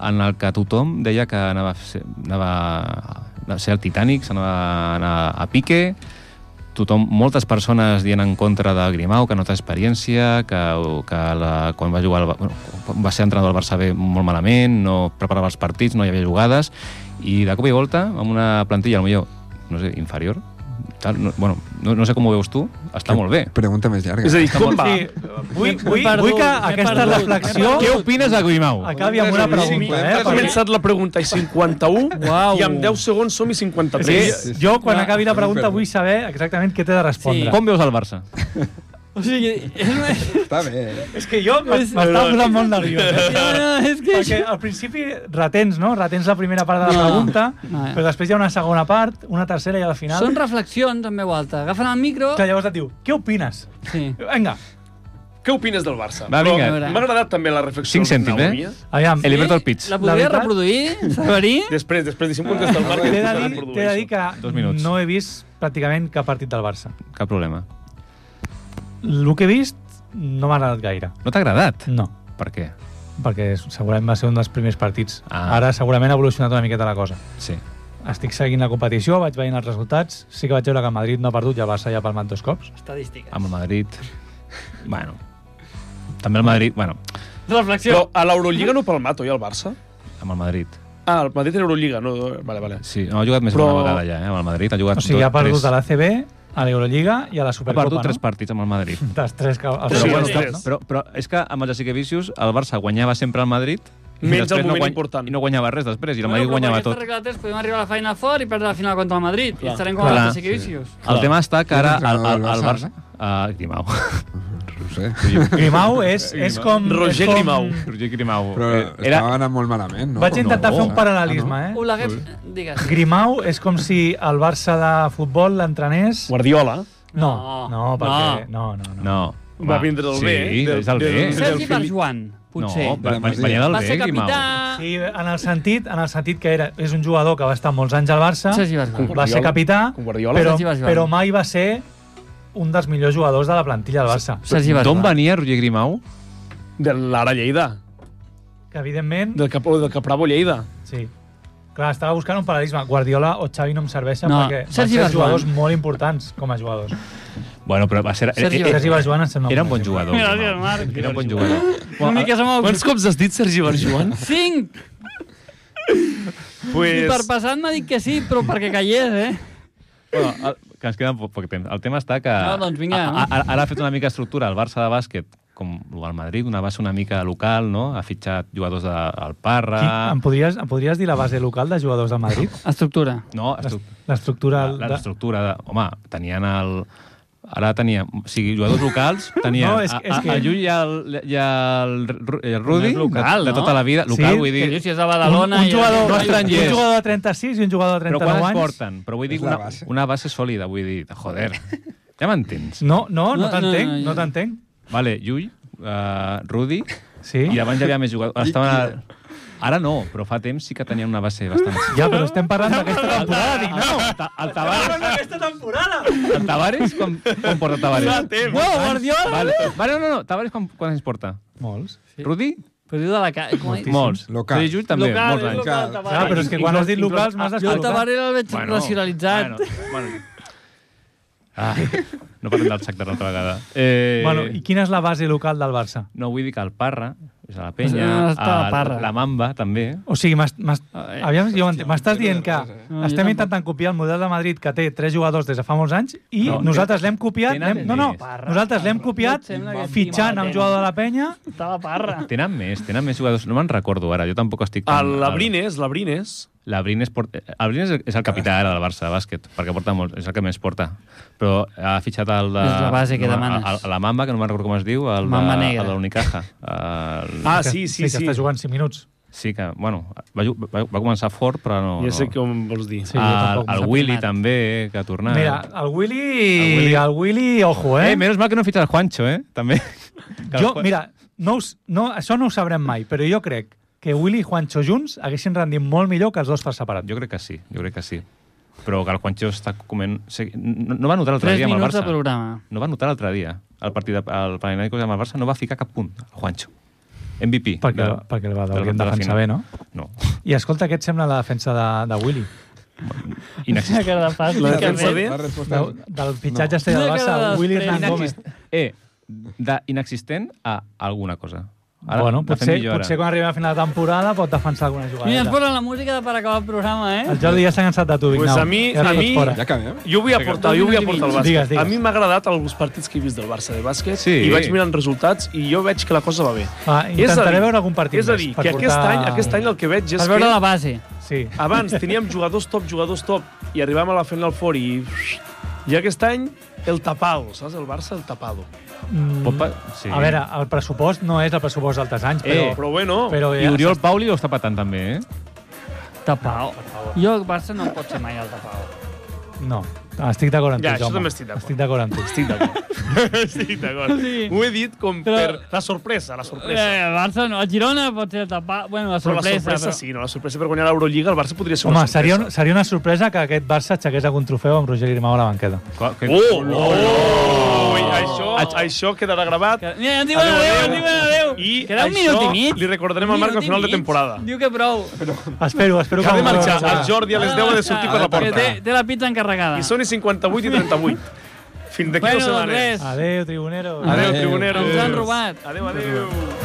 en el que tothom deia que anava a ser, anava a ser el Titanic, s'anava a anar a pique, tothom, moltes persones dient en contra de Grimau, que no té experiència, que, que la, quan va jugar al, Ba- bueno, quan va ser entrenador del Barça B molt malament, no preparava els partits, no hi havia jugades, i de cop i volta, amb una plantilla, potser, no sé, inferior, tal, no, bueno, no, no sé com ho veus tu, està molt bé. Pregunta més llarga. És a dir, com va? Sí, vull, vull, perdut, vull que m'he aquesta perdut, reflexió Què opines de Grimau? acabi amb una Podem resumir, pregunta, podem eh? Ha començat la pregunta i 51 Uau. i amb 10 segons som i Perquè- 53. Sí, sí, sí. jo, quan Clar, acabi la podem pregunta, perdre. vull saber exactament què t'he de respondre. Com veus el Barça? O sigui, és, una- Està bé. eh? És que jo m'estava posant molt (laughs) nerviós. eh? no, no, és que... Perquè al principi retens, no? Retens la primera part de la No. pregunta, No, eh. però després hi ha una segona part, una tercera i al final... Són reflexions en veu alta. Agafen el micro... Que llavors et diu, què opines? Sí. Vinga, Què opines del Barça? Va, vinga. Però M'ha agradat també la reflexió. Cinc de cèntims, Naomi, eh? aviam. El- Liberto al pitch. La La podria (laughs) veritat- reproduir, saber Després, després, deixem contestar el Marc. Ah. T'he i de, després dir, reprodueixo. t'he de dir Dos que minuts. no he vist pràcticament cap partit del Barça. Cap problema. El que he vist no m'ha agradat gaire. No t'ha agradat? No, Per què? perquè segurament va ser un dels primers partits. Ah. Ara segurament ha evolucionat una miqueta la cosa. Sí. Estic seguint la competició, vaig veient els resultats. Sí que vaig veure que el Madrid no ha perdut i el Barça ja ha palmat dos cops. Estadística. Amb el Madrid... Bueno. També el Madrid... Bueno, Reflexió. Però a l'Eurolliga no pel Mato, i al Barça? amb el Madrid. Ah, el Madrid era Eurolliga, no? Vale, vale. Sí, no, ha jugat més Però- Però... una vegada ja, eh, amb el Madrid. Ha jugat O sigui, dos, ha perdut tres. a l'ACB, a l'Eurolliga i a la Ha Supercopa, perdut tres no? partits amb el Madrid. Dels tres que... els Però Però, sí, següents bueno, els caps, tres. no? però, però és que amb el Jessica Vicious el Barça guanyava sempre al Madrid i Menys després el moment no important. I no guanyava res després, i el Bueno, Madrid però guanyava per tot. aquesta regla de tres podem arribar a la Final Four i perdre la final contra el Madrid. I estarem com Clar. a Jessica Vicious. El tema està que ara el, el, el Entrenador Barça... del Uh, Grimau. No ho sé. Grimau és, és com... Roger és com... Grimau. (laughs) Roger Grimau. Però Eh, estava anant molt malament, no? Vaig intentar no. fer un paral·lelisme, eh? Oleguer, digues. Grimau és com si el Barça de futbol l'entrenés... Guardiola. No, No. no, perquè... No, no, no. Ah. No. Va vindre del sí, B, Sí, del- és el B. del- Sergi Fili- per Joan, potser. No, va, De la va, Masia. venia del va B, ser Grimau. capità... Sí, en el sentit, en el sentit que era, és un jugador que va estar molts anys al Barça, Sergi Barjuan. va ser capità, Com Guardiola. però, Sergi Barjuan. però mai va ser un dels millors jugadors de la plantilla del Barça. Sergi D'on Barjuan. venia Roger Grimau? De l'Ara Lleida. Que, evidentment, Del, Cap, o del Capravo Lleida. sí. Clar, estava buscant un paral·lelisme. Guardiola o Xavi no em serveixen No, perquè Sergi van ser Barjuan. jugadors molt importants com a jugadors. Bueno, però va ser... Sergi Sergi Barjuan em sembla Era un bon exemple. jugador. Gràcies, Grimau. Marc. Era un bon jugador. Una mica som el... Quants cops has dit Sergi Barjuan? Cinc! I per pues... passat m'ha dit que sí, però perquè callés, eh? Bueno, el, que ens queda poc, poc temps. El tema està que... No, doncs vinga, a- a- Ara, ara ha fet una mica estructura el Barça de bàsquet com el Madrid, una base una mica local, no? Ha fitxat jugadors de, al Parra... Qui, em, podries, em podries dir la base local de jugadors de Madrid? Estructura. No, estru... L'estructura... l'estructura... De... Home, tenien el, Ara tenia... O sigui, jugadors locals, tenia No, no, és- és, és que... que- el Llull i el, i el, Ru- i el Rudi, No és local, de, de no? tota la vida. Local, Sí, vull Que dir... dius, si és de Badalona... un, un, i- jugador, No un estrangers. jugador de 36 i un jugador de Però quan 39 es anys. porten? Però vull dir És la una, base. una base sòlida, vull dir, (laughs) joder, ja m'entens. No, no, No, no, no t'entenc, no, no, no, ja. t'entenc. Vale, Llull, uh, Rudi, Sí. i abans ja havia més jugadors. Estaven a... Ara no, però fa temps sí que tenien una base bastant... (laughs) Ja, però estem parlant d'aquesta temporada, dic, no. El, Ta- el Tavares, Aquesta temporada! el Tavares quan, quan porta Tavares? Uau, Guardiola! Vale. vale, no, no, Tavares quan, quan ens porta? Molts. Sí. Rudi? Però diu de la... ca- Com ha dit? Molts. Local. Rudi Llull també, Local, molts és anys. local, Clar, Tavares. Clar, Ah, però és que quan has dit Inclòs- locals m'has Jo el d'escoltar. Tavares el veig racionalitzat. Bueno, bueno. Ah, (laughs) no parlem del Shakhtar l'altra vegada. Eh, Bueno, i quina és la base local del Barça? No vull dir que el Parra, és a la penya, Ah, està la a Parra. la Mamba, també. O sigui, m'has- m'has- Ai, aviam, si jo entenc. m'estàs dient que No, jo estem tampoc. intentant copiar el model de Madrid que té tres jugadors des de fa molts anys i No, nosaltres l'hem copiat... tenen l'hem- No, no, més. nosaltres l'hem copiat No et sembla que fitxant a un estima jugador de la penya Estava parra. Tenen més, tenen més jugadors. No me'n recordo ara, jo tampoc estic... tan- El Labrines, Labrines... L'Abrin és, port... Abrin és, el- és el capità ara del Barça de bàsquet, perquè porta molt, és el que més porta. Però ha fitxat el de... És la base que no, demanes. A, a, la Mamba, que no me'n recordo com es diu, el Mamba de, negra. el de l'Unicaja. El... Ah, sí, sí, que sí. està jugant 5 minuts. Sí que, bueno, va, ju- va, va començar fort, però no... Ja sé no. com vols dir. Sí, Sí, jo el, tampoc el m'ha Willy primat. també, eh, que ha tornat. Mira, el Willy... El El Willy- Willy, ojo, eh? eh, menos mal que no fitxa el Juancho, eh, també. (laughs) Que el Jo, Juan- mira, no us, no, això no ho sabrem mai, però jo crec que Willy i Juancho junts haguessin rendit molt millor que els dos per separat. Jo crec que sí, jo crec que sí. Però que el Juancho està coment... sí, No, no va notar l'altre Tres dia amb el minuts de Barça. programa. No va notar l'altre dia. El partit del Panathinaikos amb el Barça no va ficar cap punt, el Juancho. MVP. Perquè, de- perquè el de la- Badalona de la defensa final. bé, no? (laughs) No, I escolta, què et sembla la defensa de, de Willy? Quina inexistent. cara de fàcil. La (laughs) que defensa ha fet. bé? La resposta De, és... del fitxatge no. estrella Quina del cara Barça, de Willy estrella. Hernán Gómez. Eh, d'inexistent a alguna cosa. Ara, bueno, la fem potser, millor ara. potser quan arribem a final de temporada pot defensar alguna Mira, ens jugada. posen la música de per acabar el programa, eh? El Jordi ja s'ha cansat de tu, Pues Vignau. a mi- ja a tots mi- fora. Ja acabem? Jo vull aportar, jo vull aportar el bàsquet. Digues, A digues. mi m'ha agradat alguns partits que he vist del Barça de bàsquet Sí. i vaig mirant resultats i jo veig que la cosa va bé. Ah, És a intentaré dir- veure algun partit És a més dir, per que aquest portar- any, aquest any el que veig és Per veure que la base. Sí. Ah, abans teníem jugadors top, jugadors top, i arribàvem a la Final Four i... I aquest any, el tapado, saps? El Barça, el tapado. Mm, Pot pa- sí. A veure, el pressupost no és el pressupost d'altres anys, però... Eh, Però bueno, però I Oriol Pauli ho està patant també, eh? Tapao. Jo, el Barça no pot ser mai el tapao. No, estic d'acord amb tu, Ja, això Jaume. també estic d'acord. Estic d'acord amb tu. estic (laughs) d'acord. estic d'acord. Sí. Ho he dit com Però- per la sorpresa, la sorpresa. Eh, el Barça no. El Girona pot ser el tapao. Bueno, la Però la sorpresa. sorpresa però... sí, no? La sorpresa per guanyar l'Eurolliga, el Barça podria ser Home, una seria, sorpresa. un- seria una sorpresa que aquest Barça aixequés algun trofeu amb Roger Grimau a la banqueta. Clar, que- Oh! oh! Ui, això, això quedarà gravat. Que- Mira, ens diuen adéu, ens diuen adéu. I Queda un això minut i mig. li recordarem al Marc al Minut i final de mig. temporada. Diu que prou. Espero, espero que... Que ha de algun marxar. dia- El Jordi a les 10 ha de sortir per la Que porta. Ah, Té, té la pizza encarregada. I són i 58 i 38. Fins d'aquí Bueno, dues doncs setmanes. res. Adéu, tribuneros. Adéu, Adéu. tribuneros. Ens han robat. Adéu, adéu.